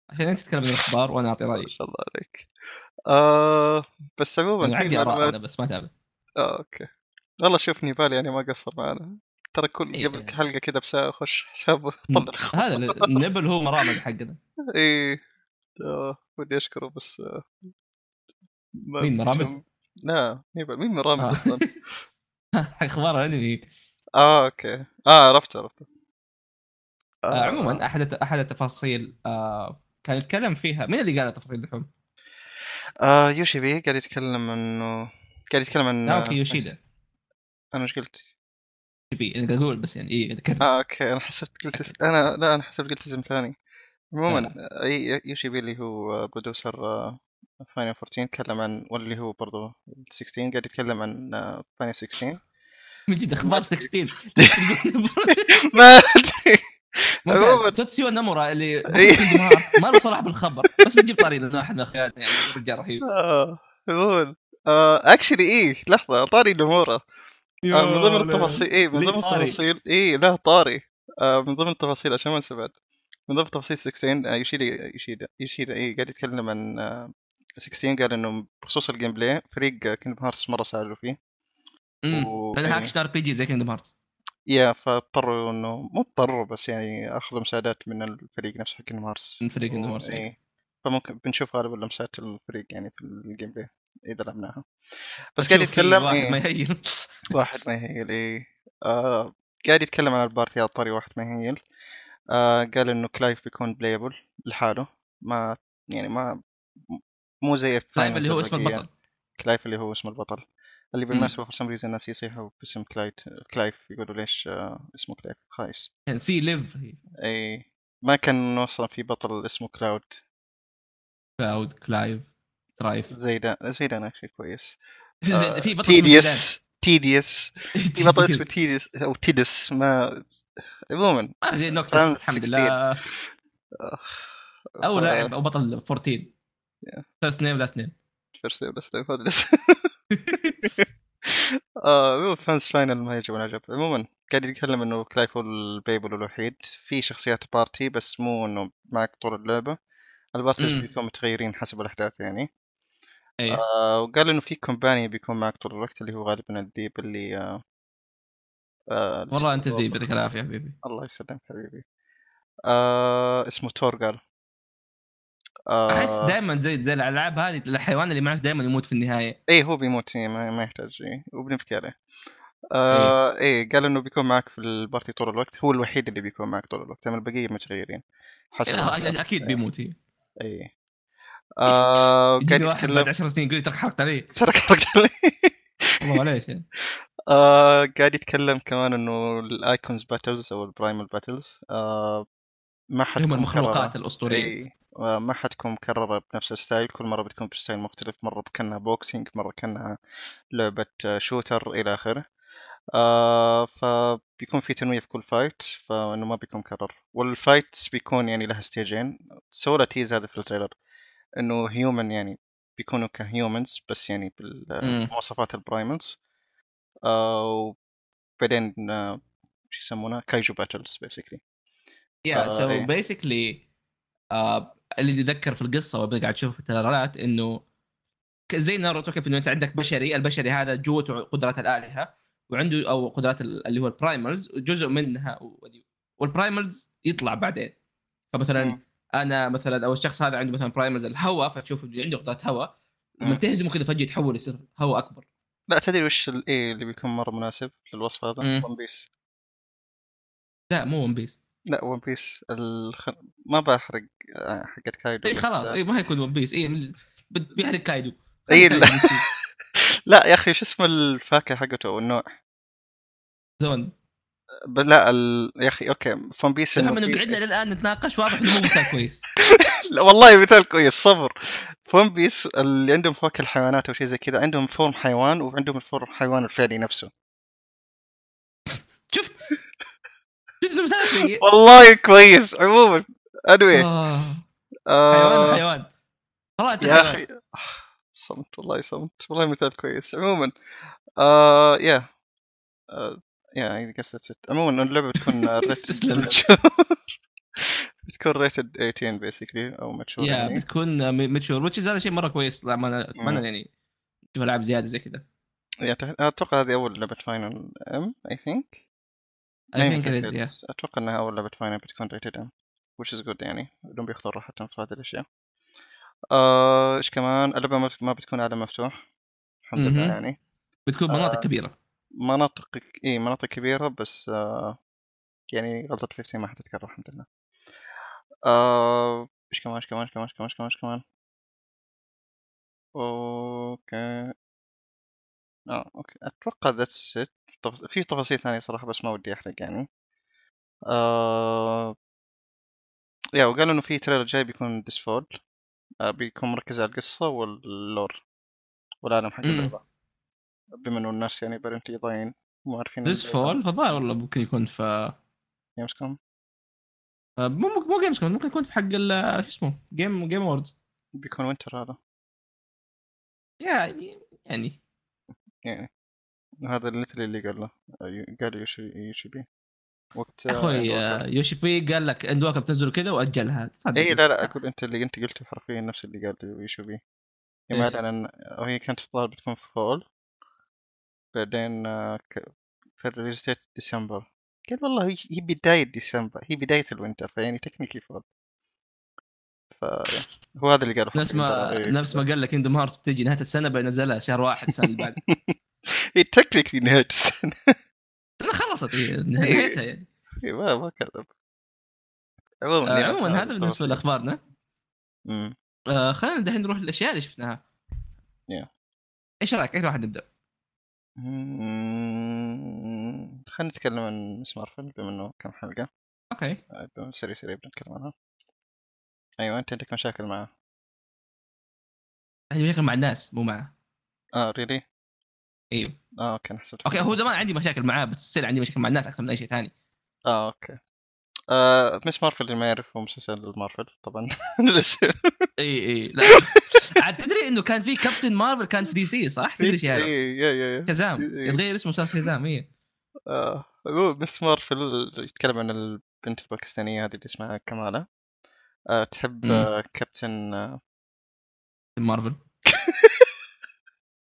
Speaker 1: عشان انت تتكلم عن الاخبار وانا اعطي
Speaker 2: ما
Speaker 1: رايي
Speaker 2: شاء الله عليك آه... بس عموما
Speaker 1: انا
Speaker 2: في
Speaker 1: عندي اراء
Speaker 2: معلومات
Speaker 1: انا بس ما اتابع
Speaker 2: اه اوكي والله شوف نيبال يعني ما قصر معنا ترى كل
Speaker 1: إيه.
Speaker 2: قبل حلقه كذا بساعه خش حسابه
Speaker 1: Mm.
Speaker 2: طلع الخبر.
Speaker 1: هذا النبل هو مرامج حقنا إيه.
Speaker 2: ايه آه، ودي اشكره بس آه، ما-
Speaker 1: مين مرامد؟
Speaker 2: لا نيبال مين مرامد
Speaker 1: آه.
Speaker 2: اصلا؟
Speaker 1: حق اخبار الانمي
Speaker 2: اه اوكي اه عرفت عرفت
Speaker 1: آه، عموما احد احد التفاصيل آه، كان يتكلم فيها مين اللي قال التفاصيل دحوم؟
Speaker 2: آه يوشي بي قاعد يتكلم انه قاعد يتكلم عن
Speaker 1: ناوكي آه، يوشيدا
Speaker 2: انا ايش قلت؟
Speaker 1: شبي انا قاعد اقول بس يعني اي ذكرت
Speaker 2: اه اوكي انا حسبت قلت اس... انا لا انا حسبت قلت اسم ثاني عموما
Speaker 1: لا،
Speaker 2: اي يوشي بي اللي هو آه، برودوسر فاينل 14 تكلم عن واللي هو برضه 16 قاعد يتكلم عن آه، فاينل 16
Speaker 1: من جد اخبار 16
Speaker 2: ما ادري عموما.
Speaker 1: ممتاز توتسيو نامورا اللي
Speaker 2: إي.
Speaker 1: ما له صلاح بالخبر بس بنجيب طاري لانه احد من اخواننا يعني رجال رهيب
Speaker 2: آه، عموما اكشلي ايه لحظه طاري نموره آه، من ضمن التفاصيل اي من
Speaker 1: ليه
Speaker 2: ضمن
Speaker 1: طاري؟
Speaker 2: التفاصيل اي لا طاري آه، من ضمن التفاصيل عشان ما نسبت من ضمن تفاصيل 16 آه، يوشيدا يوشيدا يوشيدا اي إيه، قاعد يتكلم عن آه، 16 قال انه بخصوص الجيم بلاي فريق كينجدم هارتس مره ساعدوا فيه و-
Speaker 1: لانها اكشن ار بي جي زي كينجدم هارتس
Speaker 2: يا فاضطروا انه مو اضطروا بس يعني اخذوا مساعدات من الفريق نفسه حق كينجدم هارتس
Speaker 1: من فريق كينجدم هارتس
Speaker 2: اي يعني فممكن بنشوف غالبا لمسات الفريق يعني في الجيم بلاي اذا لعبناها بس قاعد يتكلم
Speaker 1: واحد
Speaker 2: إيه.
Speaker 1: ما يهين
Speaker 2: واحد ما يهيل ايه آه قاعد يتكلم عن البارتي على طاري واحد ما يهيل آه قال انه كلايف بيكون بلايبل لحاله ما يعني ما مو زي
Speaker 1: طيب اللي هو
Speaker 2: الفاينلز
Speaker 1: اسم
Speaker 2: الباقية.
Speaker 1: البطل
Speaker 2: كلايف اللي هو اسم البطل اللي
Speaker 1: مم.
Speaker 2: بالمناسبه فور سم ريزن الناس يصيحوا باسم كلايت كلايف يقولوا ليش آه اسمه كلايف خايس
Speaker 1: يعني سي ليف
Speaker 2: اي ما كان اصلا في بطل اسمه كلاود
Speaker 1: كلاود كلايف سترايف
Speaker 2: زي ده زي ده انا شيء كويس
Speaker 1: زين، في بطل
Speaker 2: تيديوس تيديوس آه، في بطل اسمه
Speaker 1: تي
Speaker 2: تيديوس او تيدس ما عموما
Speaker 1: ما في زي نوكتس
Speaker 2: فرانس
Speaker 1: الحمد
Speaker 2: 16.
Speaker 1: لله او
Speaker 2: ف-
Speaker 1: لاعب او بطل 14 فيرست نيم لاست نيم
Speaker 2: فيرست نيم لاست نيم فانس آه، فاينل ما يعجبون عجب عموما قاعد يتكلم انه كلايف هو البيبل الوحيد في شخصيات بارتي بس مو انه معك طول اللعبه البارتيز
Speaker 1: مم. إيه.
Speaker 2: بيكونوا متغيرين حسب الاحداث يعني
Speaker 1: اي
Speaker 2: آه وقال انه في كومباني بيكون معك طول الوقت اللي هو غالبا الذيب اللي آه آه
Speaker 1: والله انت ذي يعطيك العافيه حبيبي
Speaker 2: الله يسلمك حبيبي آه اسمه تورغال آه
Speaker 1: احس دائما زي زي الالعاب هذه الحيوان اللي معك دائما يموت في النهايه
Speaker 2: ايه هو بيموت إيه، ما, ما يحتاج إيه، وبنبكي عليه آه ايه قال انه بيكون معك في البارتي طول الوقت هو الوحيد اللي بيكون معك طول الوقت اما البقيه متغيرين حسب
Speaker 1: إيه، لا، اكيد بيموت هي
Speaker 2: ايه آه قاعد
Speaker 1: يجيني واحد بعد
Speaker 2: يتكلم
Speaker 1: 10 سنين يقول لي ترى حرقت علي
Speaker 2: ترك حركت علي.
Speaker 1: والله معليش يعني.
Speaker 2: آه قاعد يتكلم كمان انه الايكونز باتلز او البرايمال باتلز آه
Speaker 1: اللي هم
Speaker 2: ما حتكون
Speaker 1: المخلوقات
Speaker 2: مكررة
Speaker 1: الاسطوريه
Speaker 2: اي آه، ما حتكون مكررة بنفس الستايل كل مرة بتكون بستايل مختلف مرة كانها بوكسينج مرة كانها لعبة آه، شوتر الى اخره آه فبيكون في تنويع في كل فايت فانه ما بيكون مكرر والفايتس بيكون يعني لها ستيجين سووا له تيز هذا في التريلر انه هيومن يعني بيكونوا كهيومنز بس يعني
Speaker 1: مم.
Speaker 2: بالمواصفات البرايملز آه وبعدين آه شو يسمونها كايجو باتلز بيسكلي
Speaker 1: يا
Speaker 2: آه،
Speaker 1: سو
Speaker 2: إيه.
Speaker 1: بيسكلي آه، اللي يتذكر في القصه وابدا قاعد تشوف في التريلرات انه ك- زي ناروتو كيف انه انت عندك بشري البشري هذا جوته قدرات الالهه وعنده او قدرات ال- اللي هو البرايمرز جزء منها و- والبرايمرز يطلع بعدين فمثلا
Speaker 2: مم.
Speaker 1: انا مثلا او الشخص هذا عنده مثلا برايمرز الهواء فتشوف إنه عنده قدرات هواء لما
Speaker 2: مم.
Speaker 1: تهزمه كذا فجاه يتحول يصير هواء اكبر
Speaker 2: لا تدري وش ال- ايه اللي بيكون مرة مناسب للوصف هذا
Speaker 1: مم.
Speaker 2: ون بيس
Speaker 1: لا مو ون بيس
Speaker 2: لا ون بيس الخ... ما بحرق آه، حقت كايدو
Speaker 1: اي
Speaker 2: بس،
Speaker 1: إيه، خلاص
Speaker 2: آه،
Speaker 1: اي ما حيكون ون بيس اي من- إيه، بت- بيحرق كايدو
Speaker 2: إي،
Speaker 1: خلي كايدو
Speaker 2: إيه، لا.
Speaker 1: مسكين.
Speaker 2: لا يا اخي شو اسم الفاكهة حقته والنوع
Speaker 1: زون
Speaker 2: ب- لا ال... يا اخي اوكي فون بيس
Speaker 1: دحين
Speaker 2: إنه
Speaker 1: انه
Speaker 2: في-
Speaker 1: قعدنا للان نتناقش واضح انه مو مثال كويس
Speaker 2: لا والله مثال كويس صبر فون بيس اللي عندهم فواكه الحيوانات او شيء زي كذا عندهم فورم حيوان وعندهم الفورم حيوان الفعلي نفسه
Speaker 1: شفت شفت انه مثال سيء
Speaker 2: والله كويس عموما anyway
Speaker 1: آه، حيوان
Speaker 2: آه
Speaker 1: حيوان والله انت
Speaker 2: يا
Speaker 1: حيوان
Speaker 2: اخي آه، صمت والله صمت والله مثال كويس عموما آه يا آه، يا I guess that's it عموما اللعبة بتكون
Speaker 1: تسلم.
Speaker 2: ريتد بتكون ريتد 18 basically او ماتشور
Speaker 1: يا
Speaker 2: يعني
Speaker 1: بتكون ميتشور وتش هذا شيء مره كويس لا ما انا ما
Speaker 2: مم.
Speaker 1: أنا يعني تشوف العاب زياده زي كذا
Speaker 2: يعني أعتقد- اتوقع هذه اول لعبة فاينل ام I think
Speaker 1: اي
Speaker 2: ماني
Speaker 1: ثينك
Speaker 2: متأكد
Speaker 1: يا
Speaker 2: بس أتوقع إنها أول لعبة فاينل بتكون ريتد إم which is good يعني بدون بياخذوا راحتهم في هذه الأشياء آه، إيش كمان اللعبة ما بت- ما بتكون عالم مفتوح الحمد لله
Speaker 1: مهم.
Speaker 2: يعني
Speaker 1: بتكون مناطق كبيره
Speaker 2: مناطق إي مناطق كبيرة بس آه يعني غلطة 15 ما حتتكرر الحمد لله آه، إيش كمان إيش كمان إيش كمان إيش كمان إيش كمان إيش كمان أوكي آه أوكي أتوقع ذاتس إت في تفاصيل ثانية صراحة بس ما ودي أحرق يعني آه يا وقالوا إنه في تريلر جاي بيكون ديسفول آه، بيكون مركز على القصة واللور والعالم حق
Speaker 1: مم.
Speaker 2: اللعبة بما انه الناس يعني برنتلي ضايعين مو عارفين
Speaker 1: ذس فول فالظاهر والله ممكن يكون في
Speaker 2: جيمز كوم
Speaker 1: مو مو جيمز كوم ممكن يكون في حق ال- شو اسمه جيم جيم اووردز
Speaker 2: بيكون وينتر هذا
Speaker 1: يعني يعني
Speaker 2: يعني هذا الليتل اللي قال له آه، قال يوشي يوشيبي وقت
Speaker 1: يا اخوي آه،
Speaker 2: اي
Speaker 1: يوشيبي قال لك اند ووكر بتنزل كذا واجلها تصدق
Speaker 2: إيه، لا لا اقول انت اللي انت قلته حرفيا نفس اللي قال يوشيبي يوم
Speaker 1: إيش؟
Speaker 2: اعلن وهي كانت الظاهر بتكون في فول بعدين آه، ك- في الريليز ديت ديسمبر قال والله هي هي بداية ديسمبر هي بداية الوينتر فيعني تكنيكي فول ف هو هذا اللي قاله
Speaker 1: نفس ما
Speaker 2: حرفياً، ترى. إيه،
Speaker 1: نفس ما قال لك كيندم هارتس بتجي نهايه السنه بنزلها شهر واحد السنه اللي بعد
Speaker 2: هي تكنيكلي إيه، نهاية السنة
Speaker 1: السنه خلصت هي
Speaker 2: إيه.
Speaker 1: نهايتها يعني
Speaker 2: إي، ما ما كذب عموما
Speaker 1: آه،
Speaker 2: يلا،
Speaker 1: عموما هذا بالنسبه
Speaker 2: التفاصيل.
Speaker 1: لاخبارنا
Speaker 2: أمم،
Speaker 1: آه، خلينا دحين نروح للاشياء اللي شفناها
Speaker 2: Yeah.
Speaker 1: ايش رايك اي واحد نبدا
Speaker 2: أمم، خلينا نتكلم عن مس مارفل بما انه كم حلقة
Speaker 1: اوكي
Speaker 2: آه، سريع سريع بنتكلم عنها ايوه انت عندك مشاكل معه
Speaker 1: عندي مشاكل مع الناس مو معه
Speaker 2: اه ريلي
Speaker 1: ايوه
Speaker 2: اه اوكي انا حسبت
Speaker 1: اوكي هو زمان عندي مشاكل معاه بس يصير عندي مشاكل مع الناس اكثر من اي شيء ثاني
Speaker 2: اه اوكي آه، مس مارفل اللي ما يعرف هو مسلسل مارفل طبعا لسه
Speaker 1: اي اي لا عاد تدري انه كان في كابتن مارفل كان في دي سي صح تدري شيء هذا
Speaker 2: إي، إيه، يا يا يا
Speaker 1: شازام
Speaker 2: إي.
Speaker 1: يتغير اسمه صار شازام اي
Speaker 2: آه، هو مس مارفل يتكلم عن البنت الباكستانية هذه اللي اسمها كمالة آه، تحب
Speaker 1: مم.
Speaker 2: آه، كابتن آه،
Speaker 1: مارفل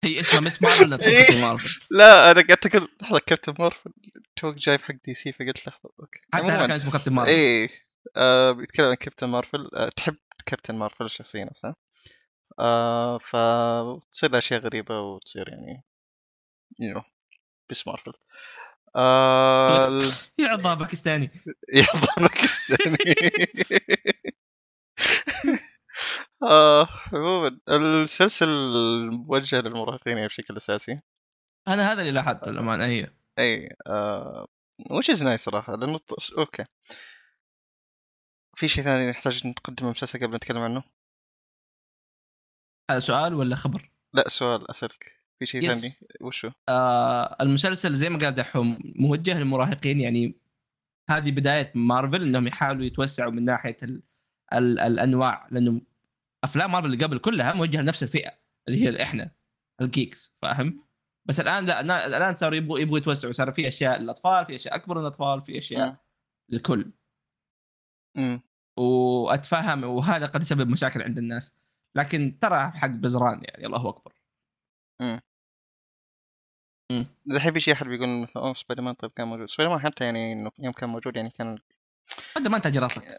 Speaker 1: هي اسمها مس مارفل لا تكون كابتن مارفل
Speaker 2: لا انا قعدت اقول لحظه كابتن مارفل توك جايب حق دي سي فقلت لحظه اوكي
Speaker 1: حتى هذا كان اسمه كابتن مارفل
Speaker 2: اي آه بيتكلم عن كابتن مارفل آه تحب كابتن مارفل الشخصيه نفسها آه فتصير لها اشياء غريبه وتصير يعني يو باسم مارفل آه... ال-
Speaker 1: يا عضاب باكستاني
Speaker 2: يلا باكستاني آه عموما السلسل موجه للمراهقين يعني بشكل اساسي
Speaker 1: انا هذا اللي لاحظته للامانه هي
Speaker 2: اي آه وش از نايس صراحه لانه الط- اوكي في شيء ثاني نحتاج نقدمه مسلسل قبل نتكلم عنه؟
Speaker 1: هذا سؤال ولا خبر؟
Speaker 2: لا سؤال اسالك في شيء
Speaker 1: يس.
Speaker 2: ثاني وشو؟
Speaker 1: آه المسلسل زي ما قال دحوم موجه للمراهقين يعني هذه بدايه مارفل انهم يحاولوا يتوسعوا من ناحيه ال ال الانواع لانه افلام مارفل اللي قبل كلها موجهه لنفس الفئه اللي هي احنا الجيكس فاهم؟ بس الان لا نا- الان صاروا يبغوا يبغوا يتوسعوا صار في اشياء للاطفال في اشياء اكبر للاطفال في
Speaker 2: مم.
Speaker 1: اشياء للكل
Speaker 2: امم
Speaker 1: واتفهم وهذا قد يسبب مشاكل عند الناس لكن ترى حق بزران يعني الله اكبر
Speaker 2: دحين في شيء احد بيقول مثلا اوه سبايدر مان طيب كان موجود سبايدر مان حتى يعني انه يوم كان موجود يعني كان
Speaker 1: هذا ما انتاج راسك
Speaker 2: اي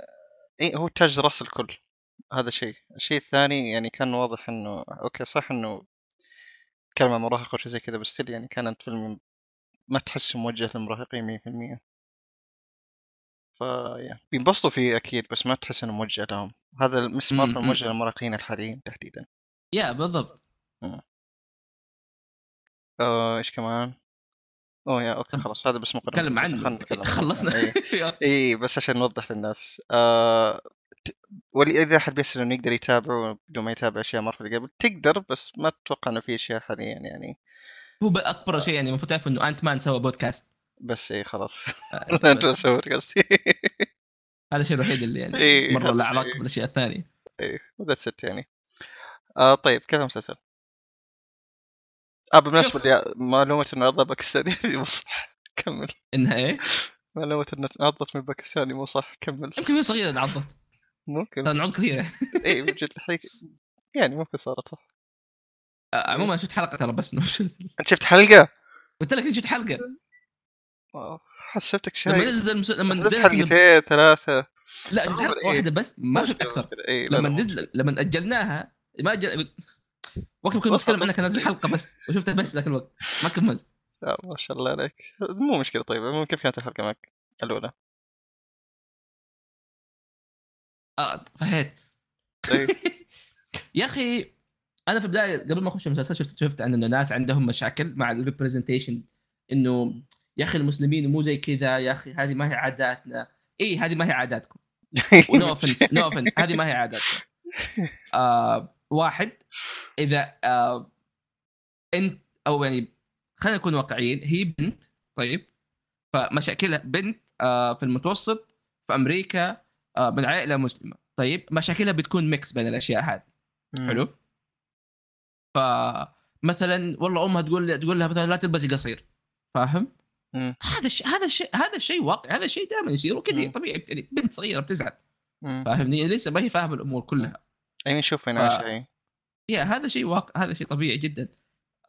Speaker 2: إيه، هو تاج راس الكل هذا شيء الشيء الثاني يعني كان واضح انه اوكي صح انه كلمة مراهقة وشي زي كذا بس still يعني كانت فيلم ما تحسه موجه للمراهقين 100% ف يعني بينبسطوا فيه اكيد بس ما تحس انه موجه لهم هذا مس
Speaker 1: مم،
Speaker 2: مارفل
Speaker 1: مم.
Speaker 2: موجه للمراهقين الحاليين تحديدا
Speaker 1: يا بالضبط
Speaker 2: آه، ايش كمان؟ اوه يا اوكي خلاص هذا بس مقدمة
Speaker 1: تكلم عنه
Speaker 2: خلنا نتكلم عنه.
Speaker 1: خلصنا
Speaker 2: إيه. اي بس عشان نوضح للناس آه واذا احد بيسال انه يقدر يتابعه بدون ما يتابع اشياء مارفل قبل تقدر بس ما اتوقع انه في اشياء حاليا يعني
Speaker 1: هو اكبر شيء يعني المفروض تعرف انه انت مان سوى بودكاست
Speaker 2: بس اي خلاص
Speaker 1: آه،
Speaker 2: لا انت سويت قصدي
Speaker 1: هذا الشيء الوحيد اللي يعني
Speaker 2: إيه،
Speaker 1: مره له
Speaker 2: إيه.
Speaker 1: علاقه بالاشياء الثانيه
Speaker 2: ذاتس ات يعني آه طيب كيف المسلسل؟ اه بالمناسبه
Speaker 1: شوف.
Speaker 2: اللي- معلومة انه عضة باكستاني مو صح كمل
Speaker 1: انها ايه
Speaker 2: معلومة انه عضت من باكستاني مو صح كمل
Speaker 1: يمكن وهي صغيره تعضت
Speaker 2: ممكن
Speaker 1: ترى نعوض كثيره
Speaker 2: اي من جد الحقيقة يعني ممكن صارت صح
Speaker 1: آه، عموما شفت حلقه ترى بس من المسلسل.
Speaker 2: انت شفت حلقة؟
Speaker 1: قلت لك إني شفت حلقه
Speaker 2: واو، حسبتك
Speaker 1: لما
Speaker 2: شايف
Speaker 1: نزل المس- لما
Speaker 2: حسبت
Speaker 1: نزل
Speaker 2: حلقتين ثلاثة إيه،
Speaker 1: لا شفت
Speaker 2: أول
Speaker 1: حلقه
Speaker 2: إيه.
Speaker 1: واحده بس ما شفت اكثر
Speaker 2: اي
Speaker 1: لما نزل لما اجلناها ما أجل... وقت كنا
Speaker 2: وصل-
Speaker 1: نتكلم عنها كان نازل
Speaker 2: وصل.
Speaker 1: حلقه بس وشفتها بس ذاك الوقت ما كملت
Speaker 2: لا ما شاء الله عليك مو مشكله طيب المهم كيف كانت الحلقه معك الاولى
Speaker 1: آه، فهيت
Speaker 2: طيب
Speaker 1: يا اخي انا في البدايه قبل ما اخش المسلسل شفت شفت عن انه ناس عندهم مشاكل مع الريبرزنتيشن انه يا اخي المسلمين مو زي كذا يا اخي هذه ما هي عاداتنا اي هذه ما هي عاداتكم ونو اوفنس نو اوفنس هذه ما هي عاداتكم آه واحد اذا آه انت او يعني خلينا نكون واقعيين هي بنت طيب فمشاكلها بنت آه في المتوسط في امريكا آه من عائله مسلمه طيب مشاكلها بتكون ميكس بين الاشياء هذه حلو فمثلا والله امها تقول تقول لها مثلا لا تلبسي قصير فاهم؟
Speaker 2: مم.
Speaker 1: هذا الشيء هذا الشيء هذا الشيء واقع هذا الشيء دائما يصير وكذا
Speaker 2: مم.
Speaker 1: طبيعي يعني بنت صغيره بتزعل
Speaker 2: مم.
Speaker 1: فاهمني؟ لسه ما هي فاهمه الامور كلها
Speaker 2: اي نشوف هنا
Speaker 1: آه.
Speaker 2: شيء
Speaker 1: يا هذا شيء واقع هذا شيء طبيعي جدا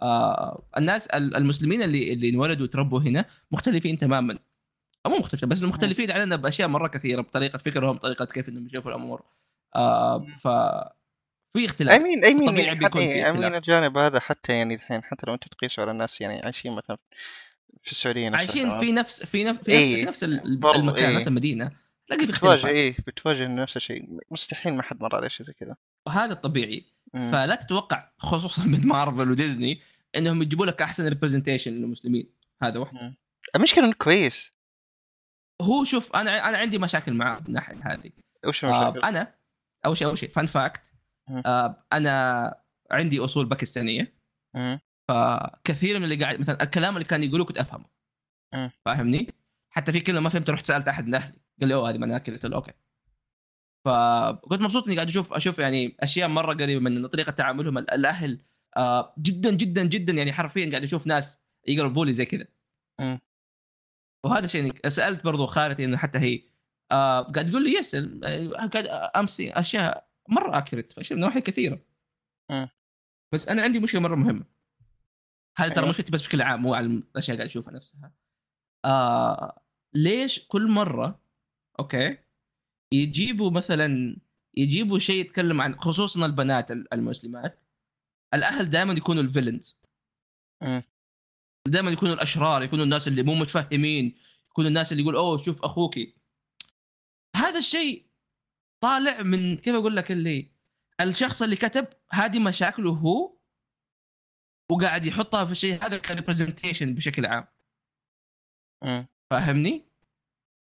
Speaker 1: آه الناس ال- المسلمين اللي اللي انولدوا وتربوا هنا مختلفين تماما أو مو مختلفين بس إنه مختلفين عننا باشياء مره كثيره بطريقه فكرهم بطريقه كيف انهم يشوفوا الامور آه ف في
Speaker 2: اي
Speaker 1: اختلاف
Speaker 2: مين اي مين
Speaker 1: طبيعي
Speaker 2: يعني
Speaker 1: بيكون في
Speaker 2: حتى اي مين
Speaker 1: اختلاف.
Speaker 2: الجانب هذا حتى يعني الحين حتى لو انت تقيسه على الناس يعني عايشين مثلا في السعوديه نفسها
Speaker 1: عايشين
Speaker 2: تمام؟
Speaker 1: في نفس في نفس في نفس,
Speaker 2: إيه،
Speaker 1: في نفس ال-
Speaker 2: برضو
Speaker 1: المكان
Speaker 2: إيه.
Speaker 1: نفس المدينه تلاقي في
Speaker 2: بتواجه
Speaker 1: اختلافات
Speaker 2: اي بتواجه نفس الشيء مستحيل ما حد مر على شيء زي كذا
Speaker 1: وهذا الطبيعي
Speaker 2: مم.
Speaker 1: فلا تتوقع خصوصا من مارفل وديزني انهم يجيبوا لك احسن ريبرزنتيشن للمسلمين هذا واحد
Speaker 2: المشكله انه كويس
Speaker 1: هو شوف انا انا عندي مشاكل معاه من الناحيه هذه
Speaker 2: وش
Speaker 1: آه
Speaker 2: المشكله؟
Speaker 1: انا اول شيء اول شيء فان فاكت
Speaker 2: مم.
Speaker 1: آه انا عندي اصول باكستانيه
Speaker 2: مم.
Speaker 1: كثير من اللي قاعد مثلا الكلام اللي كان يقولوه كنت افهمه
Speaker 2: مم.
Speaker 1: فاهمني؟ حتى في كلمه ما فهمت رحت سالت احد من اهلي قال لي اوه هذه معناها كذا قلت له اوكي فكنت مبسوط اني قاعد اشوف اشوف يعني اشياء مره قريبه من طريقه تعاملهم ال- الاهل آه جدا جدا جدا يعني حرفيا قاعد اشوف ناس يقربوا لي زي كذا
Speaker 2: مم.
Speaker 1: وهذا شيء يعني سالت برضو خالتي انه حتى هي آه قاعد تقول لي يس ال- آه، قاعد امسي اشياء مره اكيوريت فاشياء من نواحي كثيره
Speaker 2: مم.
Speaker 1: بس انا عندي مشكله مره مهمه هذه ترى
Speaker 2: أيوة.
Speaker 1: مشكلتي بس بشكل عام مو على الاشياء اللي قاعد اشوفها نفسها آه ليش كل مره اوكي يجيبوا مثلا يجيبوا شيء يتكلم عن خصوصا البنات ال- المسلمات الاهل دائما يكونوا الفيلنز
Speaker 2: مم.
Speaker 1: دائما يكونوا الاشرار يكونوا الناس اللي مو متفهمين يكونوا الناس اللي يقول اوه شوف اخوك هذا الشيء طالع من كيف اقول لك اللي الشخص اللي كتب هذه مشاكله هو وقاعد يحطها في الشيء هذا كريبرزنتيشن بشكل عام
Speaker 2: مم.
Speaker 1: فاهمني؟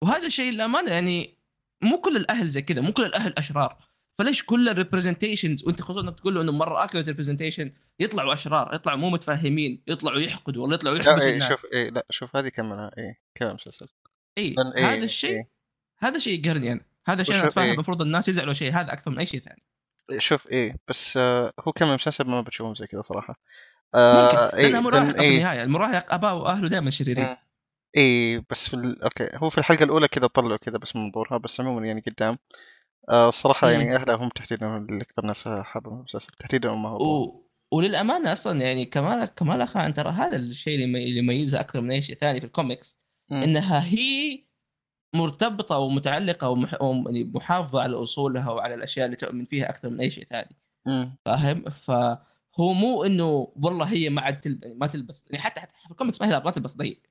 Speaker 1: وهذا الشيء للامانه يعني مو كل الاهل زي كذا مو كل الاهل اشرار فليش كل الريبرزنتيشنز وانت خصوصا انك تقول له انه مره اكلت ريبرزنتيشن يطلعوا اشرار يطلعوا مو متفاهمين يطلعوا يحقدوا ولا يطلعوا
Speaker 2: لا
Speaker 1: يحبسوا
Speaker 2: إيه
Speaker 1: الناس
Speaker 2: شوف إيه لا شوف هذه كملها إيه كمل مسلسل
Speaker 1: اي
Speaker 2: لأن إيه،
Speaker 1: هذا الشيء
Speaker 2: إيه.
Speaker 1: هذا شيء يقهرني انا هذا شيء انا
Speaker 2: وشوف
Speaker 1: اتفاهم
Speaker 2: إيه.
Speaker 1: المفروض الناس يزعلوا شيء هذا اكثر من اي شيء ثاني
Speaker 2: شوف إيه بس آه هو كمل مسلسل ما بتشوفهم زي كذا صراحة
Speaker 1: ممكن
Speaker 2: آه إيه
Speaker 1: لانها مراهقه
Speaker 2: لأن
Speaker 1: في
Speaker 2: إيه آه،
Speaker 1: النهايه المراهق اباه واهله دائما شريرين
Speaker 2: مم. ايه بس في ال... اوكي هو في الحلقه الاولى كذا طلعوا كذا بس منظورها بس عموما يعني قدام آه الصراحه
Speaker 1: مم.
Speaker 2: يعني اهلها هم تحديدا هم اللي اكثر ناس حابه المسلسل تحديدا امها وابوها
Speaker 1: و... وللامانه اصلا يعني كمال كمال خان ترى هذا الشيء اللي يمي- اللي يميزها اكثر من اي شيء ثاني في الكوميكس
Speaker 2: مم.
Speaker 1: انها هي مرتبطه ومتعلقه ومح... وم- يعني محافظه على اصولها وعلى الاشياء اللي تؤمن فيها اكثر من اي شيء ثاني
Speaker 2: مم.
Speaker 1: فاهم فهو مو انه والله هي ما عاد تل... ما تلبس يعني حتى حتى في الكوميكس ما هي لا- ما تلبس ضيق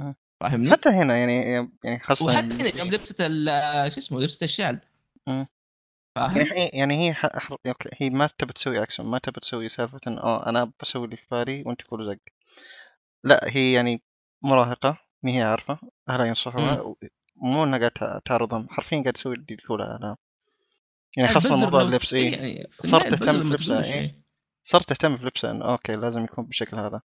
Speaker 2: مم.
Speaker 1: فاهمني؟
Speaker 2: آه. حتى هنا يعني يعني خاصه
Speaker 1: وحتى هنا يوم لبست ال- شو اسمه لبست الشال
Speaker 2: مم.
Speaker 1: فاهم؟
Speaker 2: يعني هي يعني هي ح... ح- اوكي هي ما تبي تسوي اكشن ما تبي تسوي سالفه إن، اه انا بسوي اللي في بالي وانت كله زق لا هي يعني مراهقه ما هي عارفه اهلها ينصحوها و- مو انها قاعده تعرضهم حرفيا قاعده تسوي اللي يقولها اهلها يعني خاصه
Speaker 1: البزر
Speaker 2: موضوع
Speaker 1: لو-
Speaker 2: اللبس
Speaker 1: إيه
Speaker 2: ايه
Speaker 1: يعني في
Speaker 2: صار
Speaker 1: النهاية
Speaker 2: تهتم
Speaker 1: البزر لما
Speaker 2: بلبسها،
Speaker 1: تقول له
Speaker 2: إيه.
Speaker 1: شيء،
Speaker 2: صارت تهتم في لبسه انه اوكي لازم يكون بالشكل هذا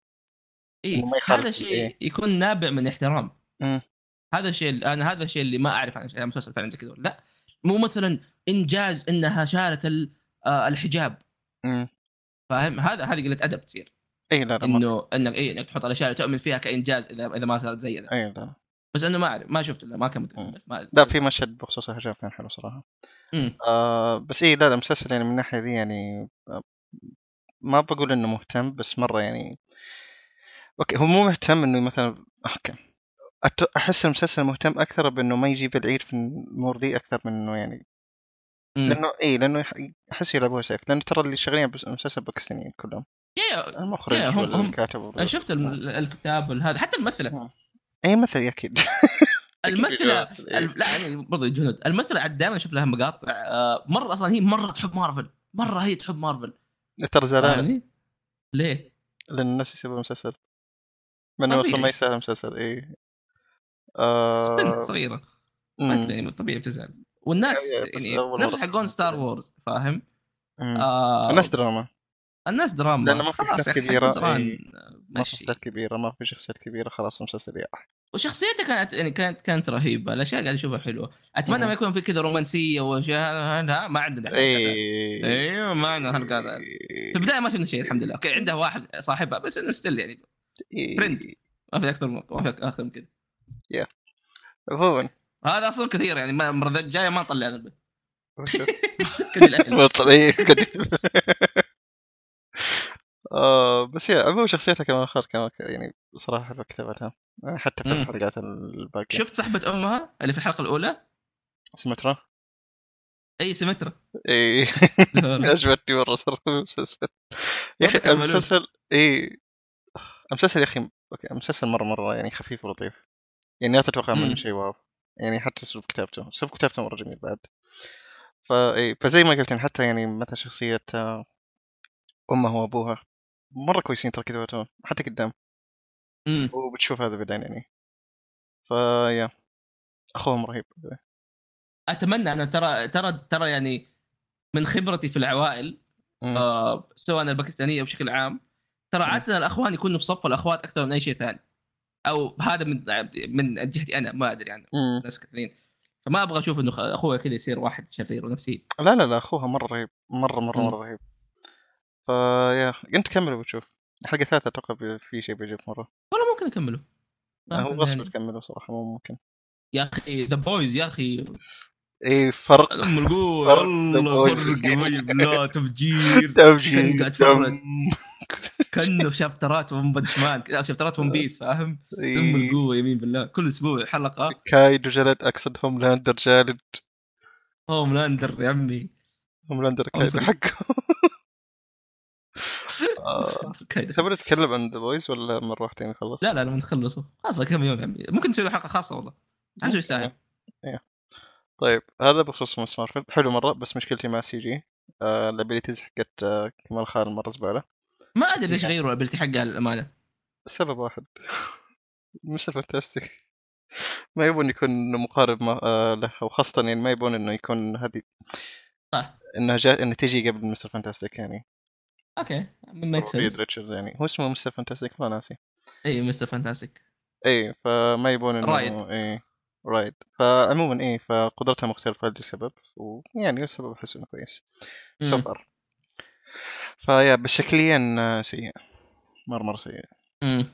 Speaker 1: إيه،
Speaker 2: إنه ما يخالف
Speaker 1: هذا
Speaker 2: ال-
Speaker 1: شيء
Speaker 2: إيه.
Speaker 1: يكون نابع من احترام
Speaker 2: مم.
Speaker 1: هذا الشيء اللي- انا هذا الشيء اللي ما اعرف عن المسلسل فعلا زي كذا ولا لا مو مثلا انجاز انها شالت ال- آه، الحجاب
Speaker 2: امم
Speaker 1: فاهم هذا هذه قله ادب تصير
Speaker 2: اي لا لا ما
Speaker 1: انه انك اي انك تحط الاشياء اللي تؤمن فيها كانجاز اذا اذا ما صارت زينا
Speaker 2: اي لا
Speaker 1: بس انه ما اعرف ما شفت إلا ما كملت
Speaker 2: مم.
Speaker 1: ما-
Speaker 2: لا في مشهد بخصوص الحجاب كان حلو صراحه
Speaker 1: مم.
Speaker 2: آه بس اي لا لا المسلسل يعني من الناحيه دي يعني آه، ما بقول انه مهتم بس مره يعني اوكي هو مو مهتم انه مثلا اوكي أت- احس المسلسل مهتم اكثر بانه ما يجيب العيد في الامور دي اكثر من انه يعني
Speaker 1: مم.
Speaker 2: لانه اي لانه يح- احس يلعبوها سيف لانه ترى اللي شغالين بس- المسلسل باكستانيين كلهم
Speaker 1: يا-
Speaker 2: المخرج
Speaker 1: إيه، هم-
Speaker 2: ولا
Speaker 1: هم-
Speaker 2: الكاتب ولا-
Speaker 1: انا شفت الم- الكتاب هذا حتى الممثله
Speaker 2: اي مثل اكيد
Speaker 1: الممثله
Speaker 2: إيه.
Speaker 1: ال- لا يعني برضه جنود الممثله عاد دائما اشوف لها مقاطع آه، مره اصلا هي مره تحب مارفل مره هي تحب مارفل
Speaker 2: ترى زعلان
Speaker 1: فاهمني؟ يعني؟ ليه؟
Speaker 2: لان الناس يسوي مسلسل من
Speaker 1: طبيعي.
Speaker 2: اصلا ما يسال مسلسل اي
Speaker 1: بنت
Speaker 2: آه...
Speaker 1: صغيره ما
Speaker 2: مم.
Speaker 1: أدري، يعني طبيعي بتزعل والناس
Speaker 2: أي- أي، بس
Speaker 1: يعني
Speaker 2: أول
Speaker 1: نفس
Speaker 2: مرة.
Speaker 1: حقون ستار وورز فاهم؟
Speaker 2: مم.
Speaker 1: آه
Speaker 2: الناس دراما
Speaker 1: الناس دراما
Speaker 2: لأنه ما في
Speaker 1: خلاص يا
Speaker 2: شخصيات
Speaker 1: اخي
Speaker 2: كبيرة،
Speaker 1: حق زران
Speaker 2: إيه. ما في
Speaker 1: مشي
Speaker 2: شخصيات كبيره ما في شخصيات كبيره خلاص مسلسل ياح
Speaker 1: وشخصيتها كانت يعني كانت كانت رهيبه الاشياء قاعد اشوفها حلوه اتمنى
Speaker 2: مم.
Speaker 1: ما يكون في كذا رومانسيه واشياء لا، ما عندنا إحنا
Speaker 2: إيه.
Speaker 1: الحلقات.
Speaker 2: اي
Speaker 1: ايوه ما عندنا هالقعدة. في البدايه ما شفنا شيء الحمد لله اوكي عندها واحد صاحبها بس انه ستيل يعني
Speaker 2: إيه.
Speaker 1: برنت. ما في اكثر من ما في اكثر من كذا
Speaker 2: عموما
Speaker 1: هذا اصلا كثير يعني ما- المره الجايه ما نطلع عن البيت
Speaker 2: وشو؟
Speaker 1: سكر الأهل.
Speaker 2: بطل- إيه، قديم. آه، بس يا عموما شخصيتها كمان خير كمان يعني صراحه حلوه كتابتها حتى في
Speaker 1: مم.
Speaker 2: الحلقات الباقيه
Speaker 1: شفت صاحبه امها اللي في الحلقه الاولى
Speaker 2: سمترا
Speaker 1: اي سيمترا
Speaker 2: اي عجبتني مره ترى المسلسل يا
Speaker 1: والله
Speaker 2: اخي
Speaker 1: كان ملوش.
Speaker 2: المسلسل اي المسلسل يا اخي اوكي المسلسل مره مره يعني خفيف ولطيف يعني لا تتوقع
Speaker 1: مم.
Speaker 2: منه شيء واو يعني حتى اسلوب كتابته اسلوب كتابته مره جميل بعد فا اي فزي ما قلت يعني حتى يعني مثلا شخصيه آه، امه وابوها مره كويسين ترى كتابتهم حتى قدام
Speaker 1: أمم.
Speaker 2: وبتشوف هذا بعدين يعني فا يا اخوهم رهيب
Speaker 1: اتمنى انا ترى ترى ترى يعني من خبرتي في العوائل
Speaker 2: مم.
Speaker 1: آه سواء الباكستانيه بشكل عام ترى
Speaker 2: مم.
Speaker 1: عاده الاخوان يكونوا في صف الاخوات اكثر من اي شيء ثاني او هذا من من جهتي انا ما ادري عن
Speaker 2: مم.
Speaker 1: ناس كثيرين فما ابغى اشوف انه اخوي كذا يصير واحد شرير ونفسي
Speaker 2: لا لا لا اخوها مره رهيب مره مره
Speaker 1: مم.
Speaker 2: مره رهيب فا يا انت كمل وبتشوف الحلقه الثالثه اتوقع بي- في شيء بيجيب مره
Speaker 1: ولا ممكن اكمله ما
Speaker 2: هو
Speaker 1: أعرف
Speaker 2: غصب
Speaker 1: يعني.
Speaker 2: تكمله صراحه مو ممكن
Speaker 1: يا اخي ذا بويز يا اخي
Speaker 2: اي فرق
Speaker 1: ام القوه
Speaker 2: فرق
Speaker 1: والله
Speaker 2: بويز.
Speaker 1: فرق رهيب لا تفجير
Speaker 2: توجيه
Speaker 1: كان قاعد يتفرج. كانه في شابترات ون بنش مان كأنه في شابترات ون بيس فاهم؟
Speaker 2: إيه.
Speaker 1: ام القوه يمين بالله كل اسبوع حلقه
Speaker 2: كايدو جلد اقصد هوملاندر جالد
Speaker 1: هوم لاندر يا عمي
Speaker 2: هوملاندر
Speaker 1: أمس-
Speaker 2: كايدو حقه آه،
Speaker 1: كذا.
Speaker 2: تبغى نتكلم عن ذا بويز ولا مرة واحدة يعني خلص؟
Speaker 1: لا لا لما نخلصه خلاص بعد كم يوم يا عمي ممكن نسوي له حلقه خاصه والله عشان يستاهل
Speaker 2: إيه. طيب هذا بخصوص مس مارفل حلو مرة بس مشكلتي مع سي جي آه الابيلتيز حقت آه كمال خان مرة زبالة
Speaker 1: ما ادري
Speaker 2: إيه.
Speaker 1: ليش غيروا الابيلتي حقها للامانه
Speaker 2: سبب واحد مستر فانتاستيك ما يبون يكون مقارب ما آه له وخاصة يعني ما يبون انه يكون هذه
Speaker 1: صح.
Speaker 2: انها جا... انها تجي قبل مستر فانتاستيك يعني
Speaker 1: اوكي ميك
Speaker 2: ريد
Speaker 1: سنس
Speaker 2: ريتشاردز يعني هو اسمه مستر فانتاستيك ما ناسي
Speaker 1: اي مستر فانتاستيك
Speaker 2: اي فما يبون إيه، انه
Speaker 1: رايد.
Speaker 2: اي رايد فعموما اي فقدرتها إيه، مختلفة لهذا السبب ويعني السبب احس انه كويس سفر فيا بس شكليا سيء مرة مرة سيء
Speaker 1: امم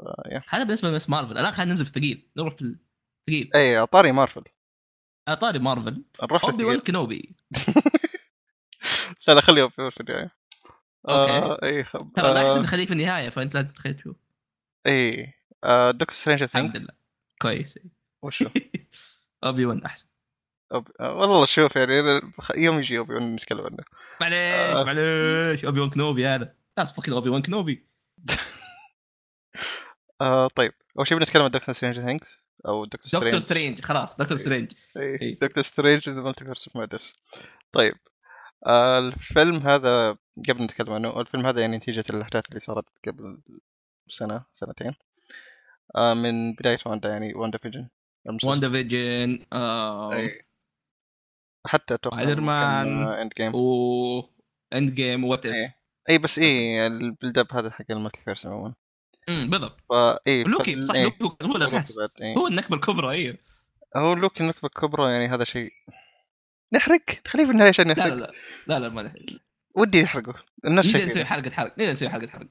Speaker 2: آه، يا.
Speaker 1: هذا بالنسبه لمس مارفل الان خلينا ننزل في الثقيل نروح في الثقيل
Speaker 2: اي اعطاري مارفل
Speaker 1: على طاري مارفل
Speaker 2: إيه، نروح
Speaker 1: اوبي وان
Speaker 2: للثقيل.
Speaker 1: كنوبي
Speaker 2: لا لا خليه في في النهاية
Speaker 1: اوكي
Speaker 2: آه، اي خب...
Speaker 1: ترى لا احسن
Speaker 2: آه،
Speaker 1: نخليه في النهايه فانت لازم تخليه تشوف
Speaker 2: اي آه، دكتور سترينج
Speaker 1: الحمد
Speaker 2: ثينكس
Speaker 1: لله كويس
Speaker 2: وشو
Speaker 1: اوبي وان احسن
Speaker 2: أوب- آه، والله شوف يعني أنا خ- يوم يجي يوم نتكلم عنه آه.
Speaker 1: معليش معليش اوبي وان كنوبي هذا خلاص فكر اوبي وان كنوبي
Speaker 2: آه، طيب اول شيء بنتكلم عن دكتور سترينج ثينكس او دكتور
Speaker 1: دكتور
Speaker 2: سترينج
Speaker 1: سترينج خلاص دكتور سترينج
Speaker 2: إيه،
Speaker 1: إيه.
Speaker 2: دكتور سترينج ذا مالتيفيرس اوف مادنس طيب آه، الفيلم هذا قبل نتكلم عنه الفيلم هذا يعني نتيجة الأحداث اللي صارت قبل سنة سنتين آه، من بداية واندا يعني واندا فيجن
Speaker 1: واندا فيجن آه،
Speaker 2: إيه. حتى اتوقع
Speaker 1: سبايدر مان.
Speaker 2: اند جيم
Speaker 1: و اند جيم وات اف
Speaker 2: إيه. اي بس اي البيلد اب هذا حق المالتيفيرس عموما
Speaker 1: أمم، بالضبط
Speaker 2: فا إيه، اي
Speaker 1: لوكي صح لوكي هو الاساس
Speaker 2: هو
Speaker 1: هو النكبه الكبرى ايوه
Speaker 2: إيه. هو لوكي النكبه الكبرى يعني هذا شيء نحرق خليه في النهايه عشان
Speaker 1: لا
Speaker 2: نحرق
Speaker 1: لا لا لا لا ما نحرق
Speaker 2: ودي يحرقه الناس
Speaker 1: نقدر نسوي
Speaker 2: شايفين
Speaker 1: حلقه حرق نقدر نسوي حلقه حرق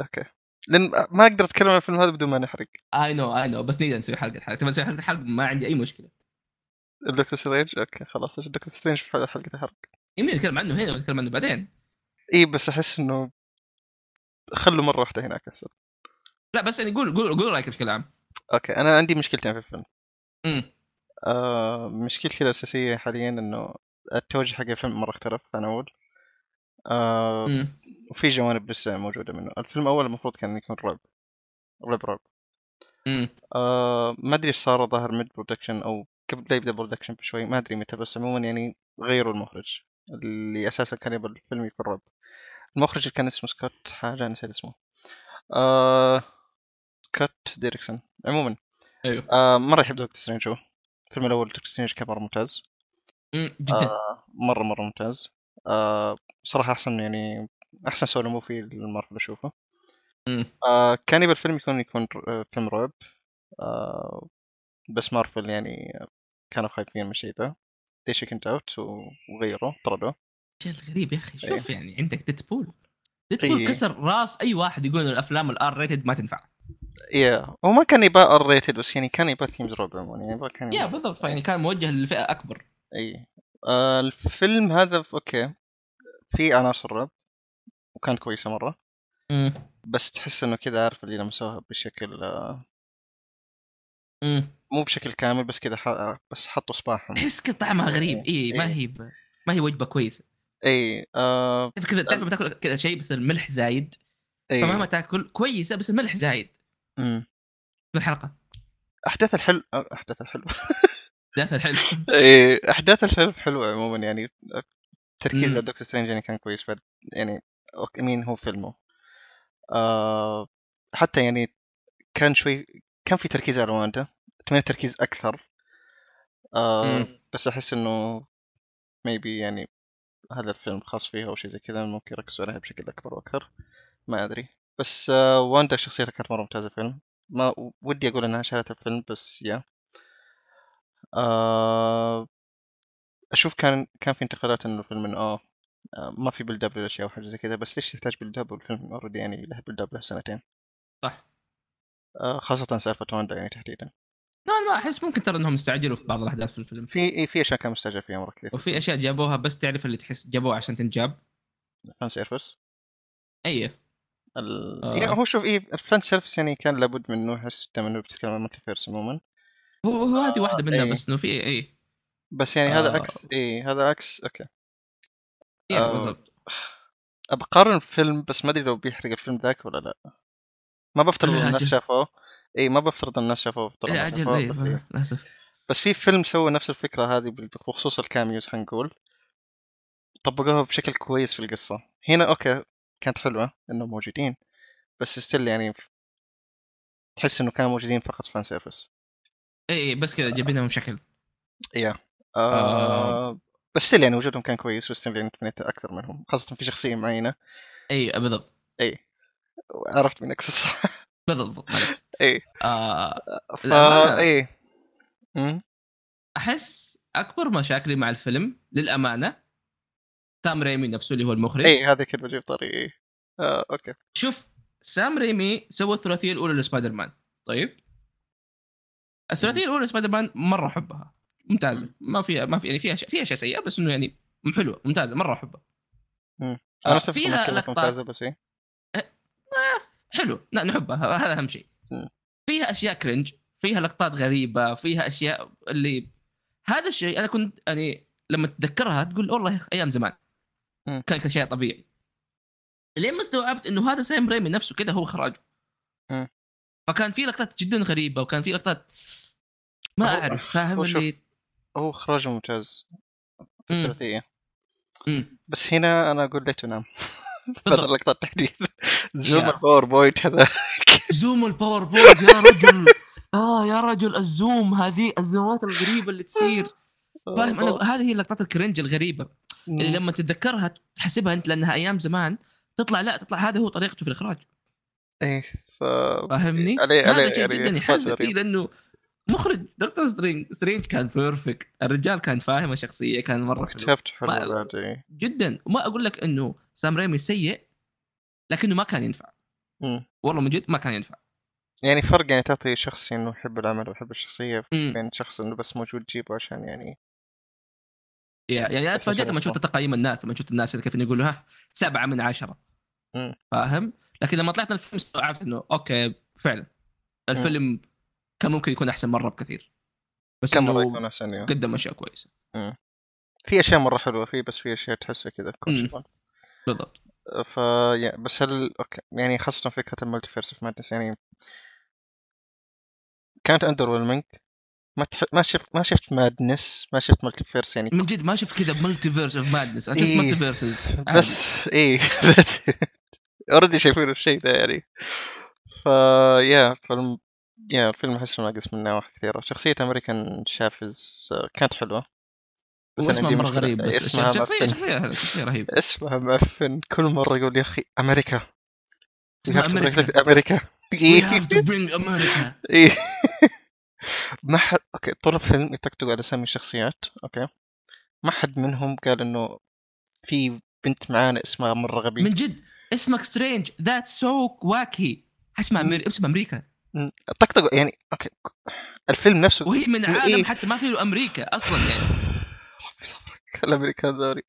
Speaker 2: اوكي لان ما اقدر اتكلم عن الفيلم هذا بدون ما نحرق
Speaker 1: اي نو اي نو بس نقدر نسوي حلقه حرق تبغى نسوي حلقه حرق ما عندي اي مشكله
Speaker 2: الدكتور سترينج اوكي خلاص عشان الدكتور سترينج في حلقه حلقة حرق
Speaker 1: يمكن نتكلم عنه هنا ونتكلم عنه بعدين
Speaker 2: اي بس احس انه خلوا مره واحده هناك احسن
Speaker 1: لا بس يعني قول قول قول رايك بشكل عام
Speaker 2: اوكي انا عندي مشكلتين في الفيلم
Speaker 1: امم
Speaker 2: آه مشكلتي الأساسية حاليا إنه التوجه حق الفيلم مرة اختلف عن أول آه
Speaker 1: أمم.
Speaker 2: وفي جوانب لسه موجودة منه الفيلم الأول المفروض كان يكون رعب رعب رعب
Speaker 1: امم
Speaker 2: آه ما أدري إيش صار ظهر ميد برودكشن أو قبل لا يبدأ برودكشن بشوي ما أدري متى بس عموما يعني غيروا المخرج اللي أساسا كان يبغى الفيلم يكون رعب المخرج اللي كان اسمه سكوت حاجة نسيت اسمه آه سكوت ديريكسون عموما
Speaker 1: ايوه
Speaker 2: آه مرة يحب دكتور سترينج هو الفيلم الأول دكتور سترينج كان مرة ممتاز
Speaker 1: امم
Speaker 2: آه.
Speaker 1: جدا
Speaker 2: مره مره ممتاز آه صراحه احسن يعني احسن سولو موفي المارفل اشوفه
Speaker 1: أمم.
Speaker 2: آه كان يبي الفيلم يكون يكون ر- آه، فيلم رعب آه بس مارفل يعني كانوا خايفين من شيء ذا they chickened out و- وغيروه طردوه
Speaker 1: شيء غريب يا اخي شوف يعني عندك ديدبول
Speaker 2: إيه.
Speaker 1: ديدبول كسر راس اي واحد يقول إن الافلام الار ريتد ما تنفع
Speaker 2: يا هو ما كان يبغى ار ريتد بس يعني كان يبغى ثيمز رعب عموما يعني يبغى كان
Speaker 1: يا
Speaker 2: يبغى
Speaker 1: بالضبط يعني كان موجه للفئه اكبر
Speaker 2: اي آه الفيلم هذا ف- اوكي في عناصر رعب وكانت كويسه مره
Speaker 1: امم
Speaker 2: بس تحس انه كذا عارف اللي لمسوها بشكل آه،
Speaker 1: امم
Speaker 2: مو بشكل كامل بس كذا ح- بس حطوا صباحهم
Speaker 1: تحس كذا طعمها غريب اي ما
Speaker 2: إيه.
Speaker 1: هي ب- ما هي وجبه كويسه
Speaker 2: اي آه
Speaker 1: تعرف كذا تعرف لما تاكل كذا شيء بس الملح زايد
Speaker 2: اي
Speaker 1: فمهما تاكل كويسه بس الملح زايد
Speaker 2: أمم.
Speaker 1: في الحلقه
Speaker 2: احداث الحلو آه، احداث الحلو
Speaker 1: ذات الحلو
Speaker 2: اي احداث الفيلم حلوه عموما يعني تركيز
Speaker 1: مم.
Speaker 2: على دكتور سترينج يعني كان كويس بعد يعني أوك- مين هو فيلمه آه حتى يعني كان شوي كان في تركيز على واندا اتمنى تركيز اكثر آه
Speaker 1: مم.
Speaker 2: بس احس انه ميبي يعني هذا الفيلم خاص فيها او شيء زي كذا ممكن يركزوا عليها بشكل اكبر واكثر ما ادري بس آه واندا شخصيتها كانت مره ممتازه في الفيلم ما ودي اقول انها شالت الفيلم بس يا آه اشوف كان كان في انتقادات انه الفيلم انه اه آه، ما في بيلد اب للاشياء وحاجه زي كذا بس ليش تحتاج بيلد اب والفيلم اوريدي يعني له بيلد اب له سنتين
Speaker 1: صح.
Speaker 2: آه خاصه سالفه واندا يعني تحديدا
Speaker 1: نوعا ما احس ممكن ترى انهم استعجلوا في بعض الاحداث في الفيلم
Speaker 2: في إيه، في اشياء كان مستعجل فيها مره كثير
Speaker 1: وفي اشياء جابوها بس تعرف اللي تحس جابوها عشان تنجاب إيه.
Speaker 2: فان سيرفس
Speaker 1: اي
Speaker 2: ال...
Speaker 1: آه.
Speaker 2: يعني هو شوف ايه الفان سيرفس يعني كان لابد منه احس دائما انه بتتكلم عن المالتيفيرس عموما
Speaker 1: هو هو هذه واحده منها
Speaker 2: إيه.
Speaker 1: بس انه في اي
Speaker 2: بس يعني هذا
Speaker 1: آه.
Speaker 2: عكس اي هذا عكس اوكي
Speaker 1: اي
Speaker 2: آه.
Speaker 1: إيه، بالضبط
Speaker 2: بقارن فيلم بس ما ادري لو بيحرق الفيلم ذاك ولا لا ما بفترض
Speaker 1: لا،
Speaker 2: ان الناس
Speaker 1: أجل.
Speaker 2: شافوه اي ما بفترض ان الناس شافوه بفترض
Speaker 1: لا اجل
Speaker 2: الناس شافوه،
Speaker 1: إيه،
Speaker 2: بس, إيه.
Speaker 1: للاسف
Speaker 2: بس في فيلم سوى نفس الفكره هذه بال- بخصوص الكاميوز خلينا نقول طبقوها بشكل كويس في القصه هنا اوكي كانت حلوه انه موجودين بس ستيل يعني تحس انه كانوا موجودين فقط فان سيرفيس
Speaker 1: اي إيه، بس كذا جايبينهم بشكل
Speaker 2: يا
Speaker 1: آه.
Speaker 2: بس ستيل يعني وجودهم كان كويس وستيل يعني تمنيت اكثر منهم خاصه في شخصيه معينه
Speaker 1: اي إيه، بالضبط
Speaker 2: عرفت من اكسس
Speaker 1: بالضبط معليش.
Speaker 2: إيه.
Speaker 1: آه،
Speaker 2: فا
Speaker 1: للأمانة-
Speaker 2: ايه مم.
Speaker 1: احس اكبر مشاكلي مع الفيلم للامانه سام ريمي نفسه اللي هو المخرج
Speaker 2: ايه هذه كلمه جيب طريقي إيه. آه، اوكي
Speaker 1: شوف سام ريمي سوى الثلاثيه الاولى لسبايدر مان طيب الثلاثيه الاولى لسبايدر مان مره احبها ممتازه ما فيها ما في يعني فيها ش... فيها اشياء سيئه بس انه يعني حلوه ممتازه مره احبها
Speaker 2: مم.
Speaker 1: آه
Speaker 2: انا استفدت من
Speaker 1: فيها
Speaker 2: كلمة
Speaker 1: لقطات
Speaker 2: ممتازه بس ايه
Speaker 1: حلو لا نحبها هذا اهم شيء
Speaker 2: مم.
Speaker 1: فيها اشياء كرنج فيها لقطات غريبه فيها اشياء اللي هذا الشيء انا كنت يعني لما تتذكرها تقول والله ايام زمان
Speaker 2: مم.
Speaker 1: كان كل شيء طبيعي لين ما استوعبت انه هذا سام ريمي نفسه كذا هو اخراجه
Speaker 2: مم.
Speaker 1: فكان في لقطات جدا غريبه وكان في لقطات ما
Speaker 2: هو-
Speaker 1: اعرف فاهم
Speaker 2: هو شوف.
Speaker 1: اللي
Speaker 2: هو اخراجه ممتاز في
Speaker 1: مم.
Speaker 2: الثلاثيه
Speaker 1: مم.
Speaker 2: بس هنا انا قلت ليته نام بعد
Speaker 1: بالضبط.
Speaker 2: اللقطه التحديد زوم
Speaker 1: يا.
Speaker 2: الباوربوينت هذا
Speaker 1: زوم الباوربوينت يا رجل اه يا رجل الزوم هذه الزومات الغريبه اللي تصير فاهم
Speaker 2: آه،
Speaker 1: انا هذه هي اللقطات الكرنج الغريبه اللي لما تتذكرها تحسبها انت لانها ايام زمان تطلع لا تطلع هذا هو طريقته في الاخراج
Speaker 2: ايه ف
Speaker 1: فاهمني؟
Speaker 2: عليه- عليه-
Speaker 1: هذا شيء
Speaker 2: عليه
Speaker 1: جدا
Speaker 2: إحباط
Speaker 1: يحزن
Speaker 2: غريب.
Speaker 1: فيه لانه مخرج دكتور سترينج سترينج كان بيرفكت الرجال كان فاهم الشخصيه كان مره حلو
Speaker 2: كتبت حلو
Speaker 1: ما-
Speaker 2: بعد إيه.
Speaker 1: جدا وما اقول لك انه سام ريمي سيء لكنه ما كان ينفع
Speaker 2: مم.
Speaker 1: والله من جد ما كان ينفع
Speaker 2: يعني فرق يعني تعطي شخص انه يحب العمل ويحب الشخصيه
Speaker 1: امم
Speaker 2: بين شخص انه بس موجود تجيبه عشان يعني
Speaker 1: يا- يعني انا
Speaker 2: بس عشان
Speaker 1: تفاجات لما شفت
Speaker 2: يصلح.
Speaker 1: تقييم الناس لما شفت الناس كيف يقولوا ها سبعه من عشره
Speaker 2: مم.
Speaker 1: فاهم؟ لكن لما طلعت من الفيلم استوعبت انه اوكي فعلا الفيلم كان ممكن يكون احسن مره بكثير بس
Speaker 2: كم مره
Speaker 1: انه
Speaker 2: يكون احسن يعني.
Speaker 1: قدم اشياء كويسه
Speaker 2: في اشياء مره حلوه فيه بس في اشياء تحسها كذا
Speaker 1: مم.
Speaker 2: كوتشبان
Speaker 1: بالضبط
Speaker 2: ف يا- بس هل اوكي يعني خاصة فكرة المالتيفيرس في مادنس يعني كانت اندر ويلمنج ما تح... ما شفت ما شفت مادنس ما شفت مالتيفيرس يعني
Speaker 1: من جد ما شفت كذا ملتيفيرس اوف مادنس انا شفت
Speaker 2: إيه.
Speaker 1: ملتيفيرسز
Speaker 2: بس اي اوريدي إيه. شايفين الشيء ذا يعني ف يا فيلم يا الفيلم احسه ناقص من نواحي كثيرة شخصية امريكان شافز آه، كانت حلوة بس أنا
Speaker 1: اسمها
Speaker 2: عندي
Speaker 1: مره
Speaker 2: مشكلة.
Speaker 1: غريب بس
Speaker 2: اسمها
Speaker 1: شخصيه
Speaker 2: معفن.
Speaker 1: شخصيه شخصيه رهيبه
Speaker 2: اسمها معفن كل مرة يقول يا اخي امريكا You
Speaker 1: اسمها
Speaker 2: have to
Speaker 1: امريكا
Speaker 2: protect امريكا
Speaker 1: We
Speaker 2: إيه.
Speaker 1: have to bring America.
Speaker 2: ايه ما حد اوكي طول الفيلم يتكتكوا على اسامي الشخصيات اوكي ما حد منهم قال انه في بنت معانا اسمها مره غبي
Speaker 1: من جد اسمك سترينج ذات سو واكي اسمها أمريكا اسمها امريكا
Speaker 2: م- طقطقوا يعني اوكي الفيلم نفسه
Speaker 1: وهي من
Speaker 2: إيه.
Speaker 1: عالم حتى ما في له امريكا اصلا يعني
Speaker 2: ربي صبرك الامريكان ذولي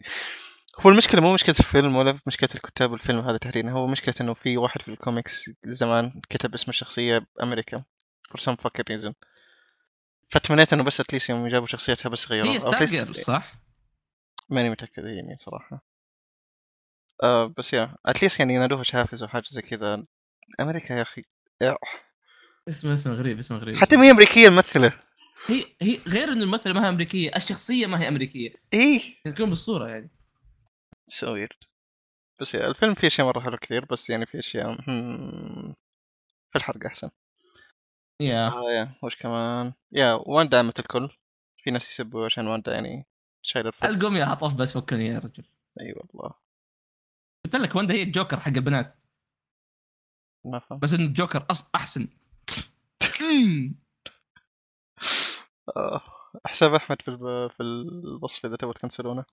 Speaker 2: هو المشكله مو مشكله الفيلم ولا مشكله الكتاب الفيلم هذا تحديدا هو مشكله انه في واحد في الكوميكس زمان كتب اسم الشخصيه امريكا for some fucking reason فتمنيت انه بس اتليس يوم جابوا شخصيتها بس غيروها
Speaker 1: هي
Speaker 2: أو
Speaker 1: ستار
Speaker 2: at least-
Speaker 1: جيرل صح؟
Speaker 2: ماني متأكد هي مين صراحة آه بس يا اتليست يعني ينادوها شافز او حاجة زي كذا امريكا يا اخي إيه.
Speaker 1: اسمه اسمه غريب اسمه غريب
Speaker 2: حتى مي امريكية ممثلة
Speaker 1: هي هي غير انه الممثله ما هي امريكيه الشخصيه ما هي امريكيه
Speaker 2: ايه
Speaker 1: تكون بالصوره يعني
Speaker 2: سو ويرد بس يا الفيلم فيه اشياء مرة حلوة كثير بس يعني فيه اشياء مم، في الحرق احسن
Speaker 1: يا
Speaker 2: آه يا وش كمان يا واندا عمت الكل في ناس يسبوا عشان واندا يعني شايلة الفيلم
Speaker 1: القم يا عطف بس فكني يا رجل
Speaker 2: اي والله
Speaker 1: قلت لك واندا هي الجوكر حق البنات
Speaker 2: ما فهم
Speaker 1: بس انه الجوكر أص... احسن أمم.
Speaker 2: آه. حساب احمد في الب- في الوصف اذا تبغى تكنسلونه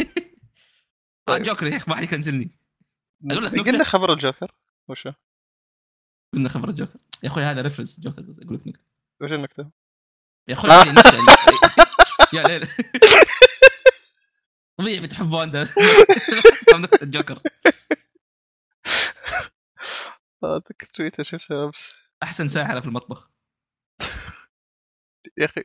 Speaker 1: آه،
Speaker 2: طيب.
Speaker 1: جوكر يا اخي ما حد يكنسلني أقول لك نكتة.
Speaker 2: قلنا خبر الجوكر وشو
Speaker 1: كنا خبر الجوكر يا اخوي هذا ريفرنس الجوكر بس اقول لك نكته
Speaker 2: وش النكتة؟
Speaker 1: يا اخوي هذه نكتة. يا ليل طبيعي بتحب واندا نكتة الجوكر
Speaker 2: هذاك آه، تويتر شفته امس
Speaker 1: احسن ساحره في المطبخ
Speaker 2: يا اخي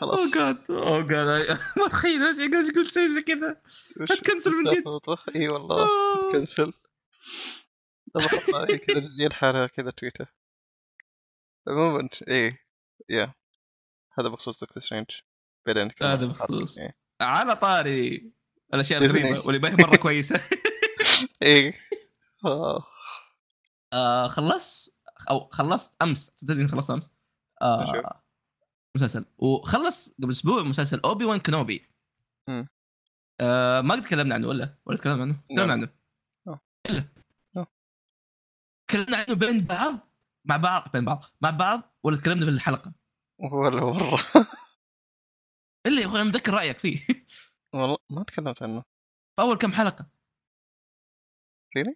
Speaker 2: خلاص.
Speaker 1: اوه جاد اوه جاد Oh ما تخيل ايش قلت قلت شيء زي كذا
Speaker 2: وش-
Speaker 1: هتكنسل من
Speaker 2: وش
Speaker 1: جد.
Speaker 2: السالفة؟ اي والله
Speaker 1: آه.
Speaker 2: كنسل طب احطها هي كذا جزئية لحالها كذا تويتر عموما اي إيه، يا هذا بخصوص دكتور سترينج بعدين نتكلم
Speaker 1: هذا
Speaker 2: عن الحلقة.
Speaker 1: بخصوص.
Speaker 2: إيه.
Speaker 1: على طاري الاشياء
Speaker 2: ديزني.
Speaker 1: الغريبه واللي ما هي مره كويسه
Speaker 2: اي إيه. آه.
Speaker 1: آه خلصت او خلصت امس تدري إني خلصت امس
Speaker 2: إيش هو؟
Speaker 1: آه مسلسل وخلص قبل اسبوع مسلسل اوبي وان كنوبي
Speaker 2: مم.
Speaker 1: آه ما قد تكلمنا عنه ولا ولا تكلمنا عنه تكلمنا عنه
Speaker 2: لا.
Speaker 1: الا
Speaker 2: لا.
Speaker 1: تكلمنا عنه بين بعض مع بعض بين بعض مع بعض ولا تكلمنا في الحلقه
Speaker 2: ولا مرة
Speaker 1: الا يا اخوي أنا متذكر رايك فيه
Speaker 2: والله ما تكلمت عنه
Speaker 1: في اول كم حلقه
Speaker 2: Really؟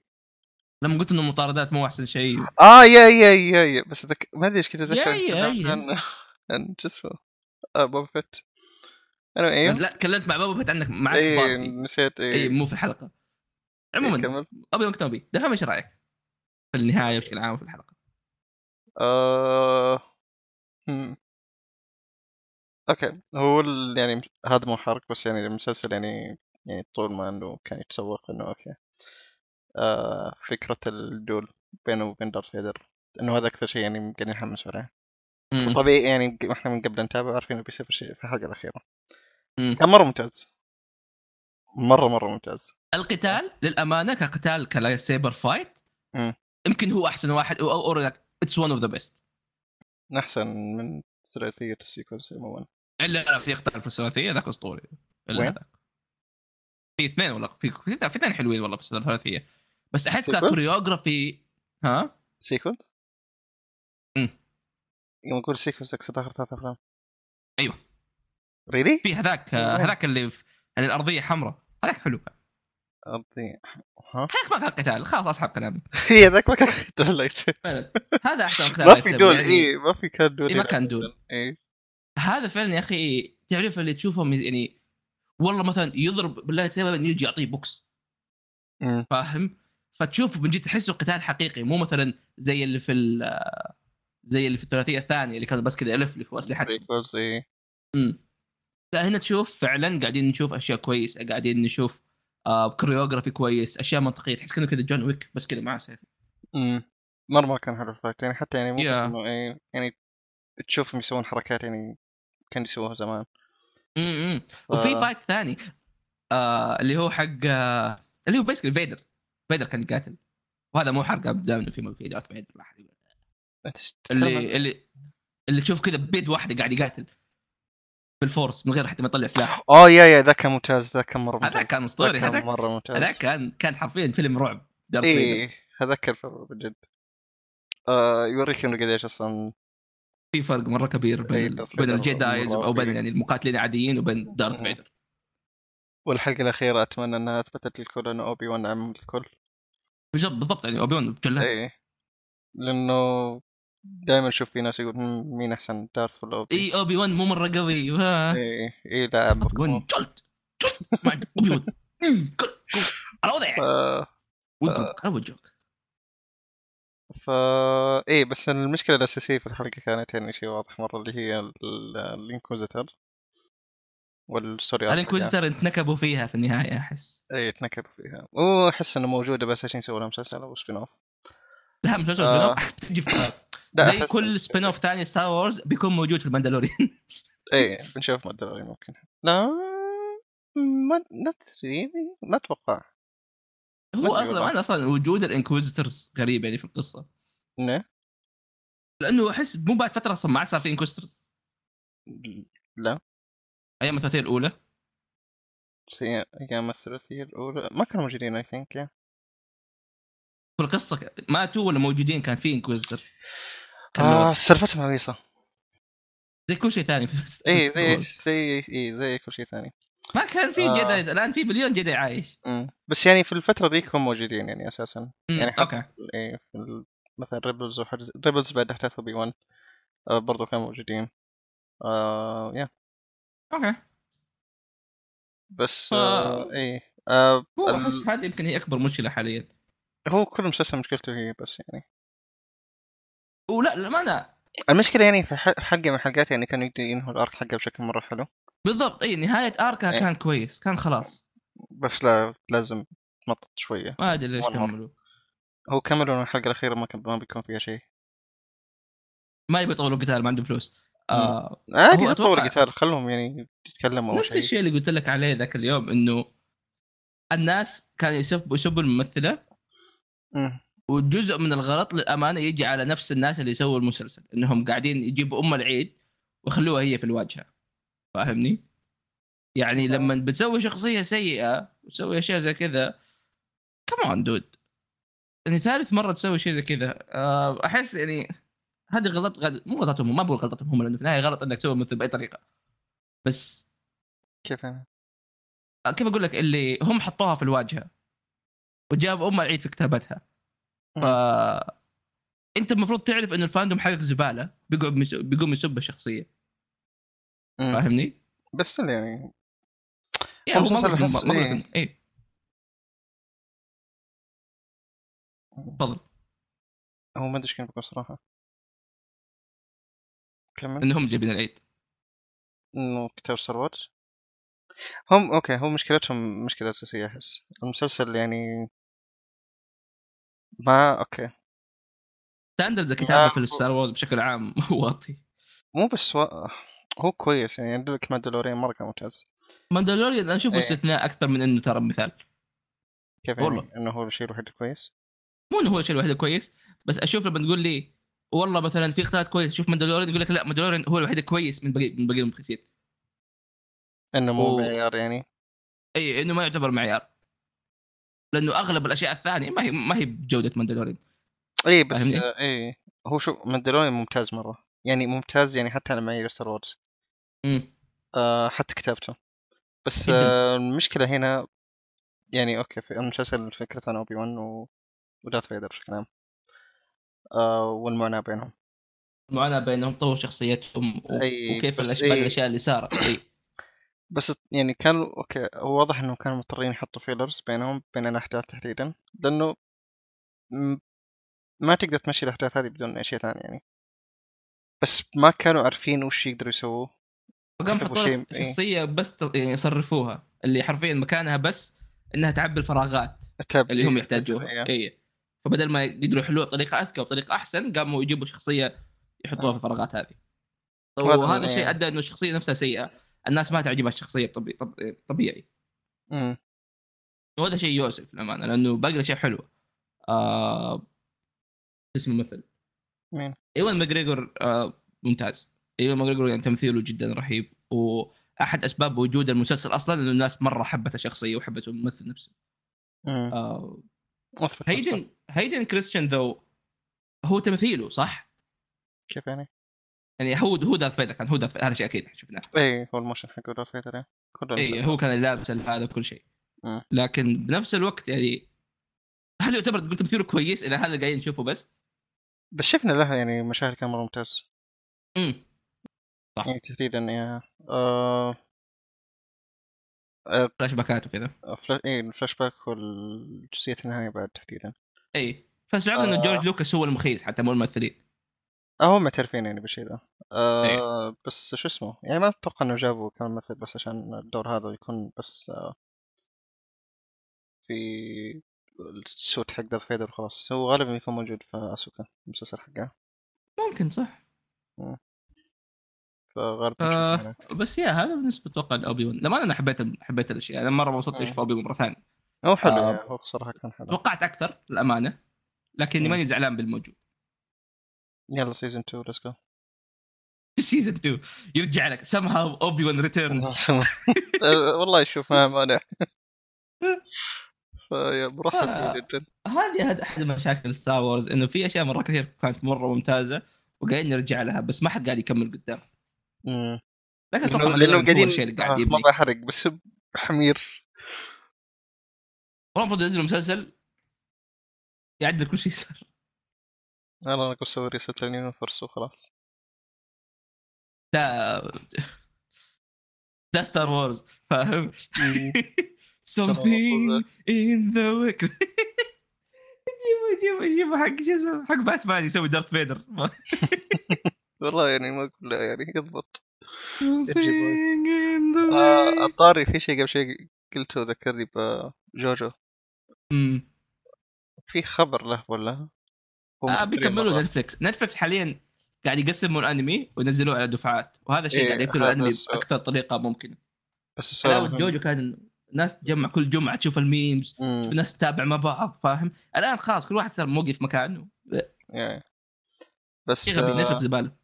Speaker 1: لما قلت انه المطاردات مو احسن شيء
Speaker 2: اه يا يا يا يا بس ذك... ما ادري ايش كنت اتذكر
Speaker 1: يا- يا-
Speaker 2: تكلمت
Speaker 1: يا.
Speaker 2: عن عن شو اسمه آه، بوبا فيت انا ايه
Speaker 1: لا تكلمت مع بابا فت عنك معك في إيه،
Speaker 2: اي
Speaker 1: بارتي
Speaker 2: إيه، نسيت
Speaker 1: اي
Speaker 2: اي
Speaker 1: مو في الحلقه عموما
Speaker 2: كمل
Speaker 1: ابي وان كنوبي دحوم ايش رايك؟ في النهايه بشكل عام في الحلقه
Speaker 2: آه... هم. اوكي هو ال- يعني هذا مو حرق بس يعني المسلسل يعني يعني طول ما انه كان يتسوق انه اوكي آه... فكرة الدول بينه وبين دارث فيدر انه هذا اكثر شيء يعني قاعدين نحمس عليه
Speaker 1: مم.
Speaker 2: طبيعي يعني احنا من قبل نتابع عارفين انه بيصير في الشيء في الحلقة الأخيرة
Speaker 1: مم.
Speaker 2: كان مرة ممتاز مرة مرة ممتاز
Speaker 1: القتال للامانه كقتال كسايبر فايت
Speaker 2: مم.
Speaker 1: يمكن هو احسن واحد او او لك اتس ون اوف ذا بيست
Speaker 2: أحسن من ثلاثية السيكونس عموما
Speaker 1: الا لا في يختار في الثلاثيه ذاك اسطوري إلا
Speaker 2: وين؟
Speaker 1: ذاك. في اثنين والله في في في اثنين حلوين والله في الثلاثيه بس احس
Speaker 2: سيكونس؟
Speaker 1: ككوريوغرافي ها
Speaker 2: سيكونس؟
Speaker 1: مم.
Speaker 2: يوم أقول سيكونس أقصد آخر ثلاث أفلام
Speaker 1: أيوة.
Speaker 2: ريلي؟
Speaker 1: في هذاك
Speaker 2: وين؟
Speaker 1: هذاك اللي في اللي الارضيه حمراء هذاك حلو
Speaker 2: أرضي ها؟
Speaker 1: هذاك ما كان قتال خلاص اسحب كلامي
Speaker 2: هي ذاك ما كان دول لايت
Speaker 1: هذا احسن قتال
Speaker 2: ما في
Speaker 1: يصير.
Speaker 2: دول إيه.
Speaker 1: يعني-
Speaker 2: إي ما في كان دول إيه.
Speaker 1: إي، ما كان دول.
Speaker 2: إي
Speaker 1: هذا فعلا يا اخي تعرف اللي تشوفهم يعني والله مثلا يضرب بالله سبب يجي يعطيه بوكس
Speaker 2: مم.
Speaker 1: فاهم فتشوف من جد تحسه قتال حقيقي مو مثلا زي اللي في ال- زي اللي في الثلاثيه الثانيه اللي كان بس كذا يلفلف واسلحته
Speaker 2: سيكونس إي
Speaker 1: أمم. لا هنا تشوف فعلا قاعدين نشوف اشياء كويسه قاعدين نشوف آه كوريوغرافي كويس اشياء منطقيه تحس كانه كذا جون ويك بس كذا معاه سيف
Speaker 2: مم. مرة مرة كان حلو الفايت يعني حتى يعني ممكن
Speaker 1: يا.
Speaker 2: إنه إي يعني تشوفهم يسوون حركات يعني كان يسووها زمان
Speaker 1: أمم.
Speaker 2: ف-
Speaker 1: وفي فايت ثاني آه اللي هو حق آه اللي هو بيسكلي فيدر فيدر كان قاتل وهذا مو حرق ابدا انه في في دارث فيدر لا أحد يقول.
Speaker 2: أنت إيش تتكلم عن-
Speaker 1: اللي اللي اللي تشوف كذا بيد واحده قاعد يقاتل بالفورس من غير حتى ما يطلع سلاح
Speaker 2: اه يا يا ذا كان ممتاز ذا كان مره ممتاز
Speaker 1: هذا كان اسطوري
Speaker 2: ذا
Speaker 1: هذاك
Speaker 2: كان إيه. مره ممتاز
Speaker 1: هذا كان كان حرفيا فيلم رعب دارث فيدر
Speaker 2: اي هذاك كان فيلم بجد آه يوريك انه قديش اصلا
Speaker 1: في فرق مره كبير
Speaker 2: إيه،
Speaker 1: بين
Speaker 2: دارث
Speaker 1: بين
Speaker 2: فيدر
Speaker 1: الجدايز
Speaker 2: مرة إيه.
Speaker 1: او بين
Speaker 2: رهيب.
Speaker 1: يعني المقاتلين العاديين وبين دارث
Speaker 2: مم.
Speaker 1: فيدر
Speaker 2: والحلقه الاخيره اتمنى انها اثبتت للكل انه اوبي وان عم الكل إيه.
Speaker 1: بالضبط بالضبط يعني اوبيون بجلها
Speaker 2: اي لانه دائما اشوف في ناس يقول "مم، مين احسن دارث ولا اوبي
Speaker 1: اي اوبي وان مو مره قوي إيه، آه.
Speaker 2: اي اي إيه، لا عم بوكيمون.
Speaker 1: جلد جلد مع اوبي وان أمم، كل- كل. على وضعك
Speaker 2: آه،
Speaker 1: وجهك على وجهك
Speaker 2: فا ايه بس المشكله الاساسيه في الحلقه كانت يعني شيء واضح مره اللي هي ال- ال- الانكوزيتر والسوري
Speaker 1: الانكويزيتر انتنكبوا فيها في النهايه احس
Speaker 2: اي تنكب إيه، فيها واحس انه موجوده بس عشان يسووا لها مسلسل او سبين اوف
Speaker 1: لا مسلسل
Speaker 2: آه.
Speaker 1: سبين اوف تجي في
Speaker 2: لا،
Speaker 1: زي
Speaker 2: أحس-
Speaker 1: كل سبين اوف ثاني ستار وورز بيكون موجود في الماندالوريان
Speaker 2: اي إيه، بنشوف ماندلوري ممكن لا ما نوت ريلي ما اتوقع
Speaker 1: هو
Speaker 2: أدري والله.
Speaker 1: اصلا انا اصلا وجود الانكويزيتورز غريب يعني في القصه
Speaker 2: انه
Speaker 1: لانه احس مو بعد فتره اصلا ما عاد صار في انكويزيتورز
Speaker 2: لا
Speaker 1: ايام الثلاثيه الاولى
Speaker 2: بس هي- ايام الثلاثيه الاولى ما كانوا موجودين اي ثينك يا
Speaker 1: في القصه ك- ماتوا ولا موجودين كان في انكويزيتورز آه،
Speaker 2: اه سالفتهم عويصه
Speaker 1: زي كل شيء ثاني في
Speaker 2: اي
Speaker 1: Star
Speaker 2: إيه، زي
Speaker 1: Wars.
Speaker 2: زي اي زي كل شيء ثاني
Speaker 1: ما كان في
Speaker 2: آه.
Speaker 1: جدايز الان في مليون جداي عايش
Speaker 2: أمم. بس يعني في الفتره ذيك هم موجودين يعني اساسا
Speaker 1: أمم،
Speaker 2: يعني حتى-
Speaker 1: اوكي
Speaker 2: اي في ال- مثلا ريبلز وحاجه ريبلز بعد احداث اوبي 1 برضو كانوا موجودين آه يا
Speaker 1: اوكي
Speaker 2: بس
Speaker 1: ف-
Speaker 2: آه اي آه
Speaker 1: هو
Speaker 2: ال-
Speaker 1: احس هذه يمكن هي اكبر مشكله حاليا
Speaker 2: هو كل مسلسل مشكلته هي بس يعني
Speaker 1: ولا للامانه
Speaker 2: المشكله يعني في ح- حلقه من الحلقات يعني كانوا يقدروا ينهوا الارك حقه بشكل مره حلو
Speaker 1: بالضبط اي نهايه اركا
Speaker 2: إيه.
Speaker 1: كان كويس كان خلاص
Speaker 2: بس لا لازم تمطط شويه
Speaker 1: ما ادري ليش
Speaker 2: والله.
Speaker 1: كملوا
Speaker 2: هو كملوا إنه الحلقه الاخيره ما كان ما بيكون فيها شيء
Speaker 1: ما يبي يطولوا قتال ما عندهم فلوس آه
Speaker 2: عادي
Speaker 1: هو
Speaker 2: لا تطور
Speaker 1: أتوقع-
Speaker 2: القتال خلهم يعني يتكلموا او
Speaker 1: نفس
Speaker 2: شيء
Speaker 1: الشيء اللي قلت لك عليه ذاك اليوم انه الناس كانوا يسبوا يسبوا الممثله
Speaker 2: مم.
Speaker 1: وجزء من الغلط للامانه يجي على نفس الناس اللي سووا المسلسل انهم قاعدين يجيبوا ام العيد ويخلوها هي في الواجهه فاهمني؟ يعني لما بتسوي شخصيه سيئه وتسوي اشياء زي كذا كمان دود يعني ثالث مره تسوي شيء زي كذا آه، احس يعني هذه غلط غد... مو غلطتهم هم، ما بقول غلطتهم هم لانه في النهايه غلط انك تسوي مثل باي طريقه بس
Speaker 2: كيف يعني؟ انا؟
Speaker 1: آه، كيف اقول لك اللي هم حطوها في الواجهه وجاب ام العيد في كتابتها ف انت المفروض تعرف ان الفاندوم حقك زباله بيقعد مس- بيقوم يسب الشخصيه
Speaker 2: مم.
Speaker 1: فاهمني؟
Speaker 2: بس still يعني
Speaker 1: يعني هو ما
Speaker 2: مسلسل
Speaker 1: بقول لك-
Speaker 2: أحس
Speaker 1: ما بقول
Speaker 2: إيه.
Speaker 1: لك- إيه. تفضل
Speaker 2: هو ما ادري ايش كان بيقول صراحه كمل
Speaker 1: انهم جايبين العيد
Speaker 2: انه كتاب ستار وورز هم اوكي هو مشكلتهم مشكله اساسيه احس المسلسل يعني ما اوكي
Speaker 1: ستاندرز
Speaker 2: آه.
Speaker 1: الكتابه في ستار وورز بشكل عام واطي
Speaker 2: مو بس و... هو كويس يعني عندك ماندلوريان مره كان ممتاز
Speaker 1: ماندلوريان انا اشوفه
Speaker 2: إيه.
Speaker 1: استثناء اكثر من انه ترى مثال
Speaker 2: كيف
Speaker 1: والله.
Speaker 2: يعني انه هو الشيء الوحيد الكويس
Speaker 1: مو انه هو الشيء الوحيد الكويس بس اشوف لما تقول لي والله مثلا في اختيارات كويس شوف ماندلوريان يقول لك لا ماندلوريان هو الوحيد الكويس من باقي من باقي المقيسين
Speaker 2: انه مو
Speaker 1: أوه.
Speaker 2: معيار يعني
Speaker 1: اي انه ما يعتبر معيار لانه اغلب الاشياء الثانيه ما هي ما هي بجوده ماندلوريان
Speaker 2: اي بس
Speaker 1: فاهمني؟
Speaker 2: آه، اي هو شو ماندلوريان ممتاز مره يعني ممتاز يعني حتى على معايير ستار وورز
Speaker 1: امم
Speaker 2: آه حتى كتابته بس
Speaker 1: جداً.
Speaker 2: آه المشكله هنا يعني اوكي في المسلسل فكرته عن اوبي وان و... ودارث فيدر بشكل عام آه والمعاناه بينهم
Speaker 1: المعاناه بينهم طور شخصيتهم و...
Speaker 2: أي،
Speaker 1: وكيف
Speaker 2: بس
Speaker 1: الاشياء
Speaker 2: أي.
Speaker 1: الاشياء اللي صارت اي
Speaker 2: بس يعني كانوا اوكي هو واضح انهم كانوا مضطرين يحطوا فيلرز بينهم بين الاحداث تحديدا لانه م- ما تقدر تمشي الاحداث هذه بدون اشياء ثانيه يعني بس ما كانوا عارفين وش يقدروا يسووه
Speaker 1: فقام
Speaker 2: كتبوا
Speaker 1: حطوا لك
Speaker 2: شيء- إي.
Speaker 1: شخصيه بس ت- يعني صرفوها اللي حرفيا مكانها بس انها تعبي الفراغات
Speaker 2: التاب
Speaker 1: اللي هم
Speaker 2: إيه،
Speaker 1: يحتاجوها
Speaker 2: إيه.
Speaker 1: اي فبدل ما يقدروا يحلوها بطريقه اذكى وبطريقه احسن قاموا يجيبوا شخصيه
Speaker 2: آه.
Speaker 1: يحطوها في الفراغات هذه
Speaker 2: وهذا
Speaker 1: وهذا
Speaker 2: من-
Speaker 1: الشيء ادى انه الشخصيه نفسها سيئه الناس ما تعجبها الشخصيه طبي... طب... طبيعي
Speaker 2: أمم.
Speaker 1: وهذا شيء يؤسف للامانه لانه باقي الاشياء حلوه آه... شو اسمه الممثل
Speaker 2: مين؟
Speaker 1: ايوان ماجريجور آه ممتاز ايوان ماجريجور يعني تمثيله جدا رهيب واحد اسباب وجود المسلسل اصلا انه الناس مره حبت الشخصيه وحبت الممثل نفسه
Speaker 2: أمم.
Speaker 1: آه
Speaker 2: اثبت نفسه.
Speaker 1: هيدن هيدن كريستيان ذو هو تمثيله صح؟
Speaker 2: كيف يعني؟
Speaker 1: يعني هو هو دارث فيدر كان هو دارث فيدر، هذا شيء اكيد شفناه
Speaker 2: اي هو الموشن إيه، حق دارث فيدر إيه. كله
Speaker 1: اي
Speaker 2: المسلسل.
Speaker 1: هو كان اللابس هذا كل شيء
Speaker 2: مم.
Speaker 1: لكن بنفس الوقت يعني هل يعتبر تقول تمثيله كويس اذا هذا اللي قاعدين نشوفه بس؟
Speaker 2: بس شفنا له يعني مشاهد كان مره ممتاز
Speaker 1: امم صح.
Speaker 2: يعني تحديدا يا آه... آه...
Speaker 1: فلاش باكات وكذا
Speaker 2: فلا... إيه الفلاش باك والجزئية النهاية بعد تحديدا
Speaker 1: اي فاستوعبنا انه إيه. جورج لوكاس هو المخيس حتى مو الممثلين
Speaker 2: آه، هم معترفين يعني بالشيء ذا
Speaker 1: إيه.
Speaker 2: آه بس شو اسمه يعني ما اتوقع انه جابوا كم ممثل بس عشان الدور هذا يكون بس آه في السوت حق دارث فيدر خلاص هو غالبا يكون موجود في اسوكا المسلسل حقه
Speaker 1: ممكن صح
Speaker 2: فغالبا
Speaker 1: آه.
Speaker 2: نشوفه هنا.
Speaker 1: بس يا هذا بالنسبه اتوقع لاوبي وان لما انا حبيت حبيت الاشياء انا مره وصلت
Speaker 2: مم.
Speaker 1: اشوف اوبي وان مره ثانيه
Speaker 2: هو حلو
Speaker 1: آه.
Speaker 2: يعني، هو صراحة كان حلو
Speaker 1: توقعت اكثر للامانه لكني
Speaker 2: مم.
Speaker 1: ماني زعلان بالموجود
Speaker 2: يلا سيزون 2 ليتس جو
Speaker 1: في سيزون 2 يرجع لك سم هاو اوبي وان ريتيرن
Speaker 2: آه، والله شوف ما مانع فيا مرحب
Speaker 1: آه.
Speaker 2: جدا
Speaker 1: هذه هذا احد مشاكل ستار وورز انه في اشياء مره كثير كانت مره ممتازه وقاعدين نرجع لها بس ما حد قاعد يكمل قدام
Speaker 2: مم.
Speaker 1: لكن اتوقع
Speaker 2: لانه
Speaker 1: Mandalorian
Speaker 2: لأنه
Speaker 1: هو
Speaker 2: قاعدين
Speaker 1: الشيء اللي
Speaker 2: آه،
Speaker 1: قاعد يبني
Speaker 2: ما بحرق بس حمير
Speaker 1: والله المفروض ينزلوا مسلسل يعدل كل شيء صار
Speaker 2: يلا انا بسوي ريست لليونيفرس وخلاص
Speaker 1: ده ده ستار وورز فاهم
Speaker 2: ترى
Speaker 1: something in the wick جيبوا جيبوا جيبوا حق شو اسمه حق باتمان يسوي دارث فيدر
Speaker 2: والله يعني ما اقول لا يعني يضبط
Speaker 1: Something in the
Speaker 2: آه،
Speaker 1: way.
Speaker 2: الطاري في شيء قبل شيء قلته ذكرني بجوجو
Speaker 1: مم.
Speaker 2: في خبر له ولا هو
Speaker 1: آه
Speaker 2: متكلم مرة.
Speaker 1: بيكملوا نتفلكس نتفلكس حاليا قاعد يقسموا الانمي وينزلوه على دفعات وهذا الشيء
Speaker 2: إيه،
Speaker 1: قاعد ياكل
Speaker 2: هذا
Speaker 1: الانمي
Speaker 2: السؤال.
Speaker 1: باكثر طريقه ممكنه
Speaker 2: بس السؤال
Speaker 1: حلاوه
Speaker 2: المهم.
Speaker 1: جوجو كان إنه الناس تجمع كل جمعه تشوف الميمز
Speaker 2: مم،
Speaker 1: الناس تتابع مع بعض فاهم الان خلاص كل واحد صار موقف مكانه
Speaker 2: يعني. بس
Speaker 1: شغل
Speaker 2: آه،
Speaker 1: نتفلكس زباله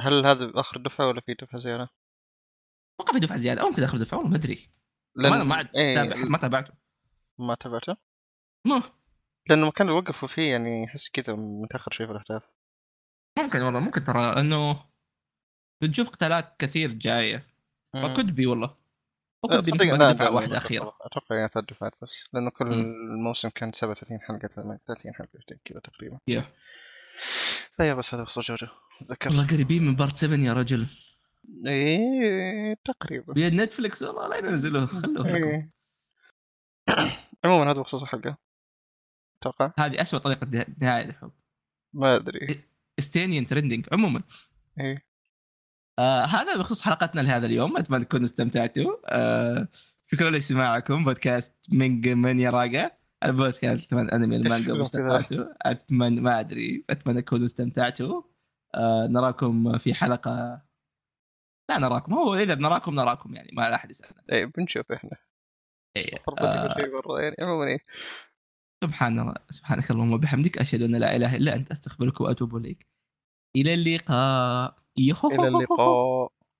Speaker 2: هل هذا اخر دفعه ولا في دفعه زياده؟
Speaker 1: اتوقع في دفعه زياده او ممكن اخذ دفعه والله ما ادري
Speaker 2: لأن...
Speaker 1: ما ما عاد تابع
Speaker 2: إيه
Speaker 1: ما تابعته
Speaker 2: ما تابعته؟
Speaker 1: مه.
Speaker 2: لانه المكان اللي وقفوا فيه يعني احس كذا متاخر شوي في الاحداث
Speaker 1: ممكن والله ممكن ترى لانه بنشوف قتالات كثير جايه
Speaker 2: مم.
Speaker 1: فكد بي والله
Speaker 2: لا،
Speaker 1: وكد بي
Speaker 2: تصدق
Speaker 1: نكتب
Speaker 2: لا،
Speaker 1: عن دفعه
Speaker 2: لا،
Speaker 1: واحده
Speaker 2: لا،
Speaker 1: اخيره
Speaker 2: اتوقع يعني ثلاث دفعات بس لانه كل
Speaker 1: مم.
Speaker 2: الموسم كان 37 حلقه 38 حلقه كذا تقريبا
Speaker 1: Yeah.
Speaker 2: فيا بس هذا قصه جوجو ذكرت
Speaker 1: والله قريبين من بارت 7 يا رجل
Speaker 2: ايه تقريبا
Speaker 1: يا نتفلكس والله لا ينزلوه خلوه لكم
Speaker 2: إيه. عموما هذا بخصوص الحلقه اتوقع
Speaker 1: هذه اسوء طريقه ده- نهايه الحب
Speaker 2: ما
Speaker 1: إيه.
Speaker 2: ادري
Speaker 1: استينيان ترندنج عموما
Speaker 2: ايه
Speaker 1: آه هذا بخصوص حلقتنا لهذا اليوم اتمنى تكونوا استمتعتوا آه شكرا لاستماعكم بودكاست من من يراقه البودكاست كمان انمي المانجا
Speaker 2: شكراً
Speaker 1: ومشتقاته اتمنى ما ادري اتمنى تكونوا استمتعتوا آه نراكم في حلقه لا نراكم هو اذا نراكم نراكم يعني ما لا احد يسالنا
Speaker 2: ايه بنشوف احنا
Speaker 1: إيه،
Speaker 2: استغفر الله
Speaker 1: آه،
Speaker 2: تقول شيء مره يعني عموما ايه
Speaker 1: سبحان الله سبحانك اللهم وبحمدك اشهد ان لا اله الا انت استغفرك واتوب اليك الى اللقاء
Speaker 2: الى اللقاء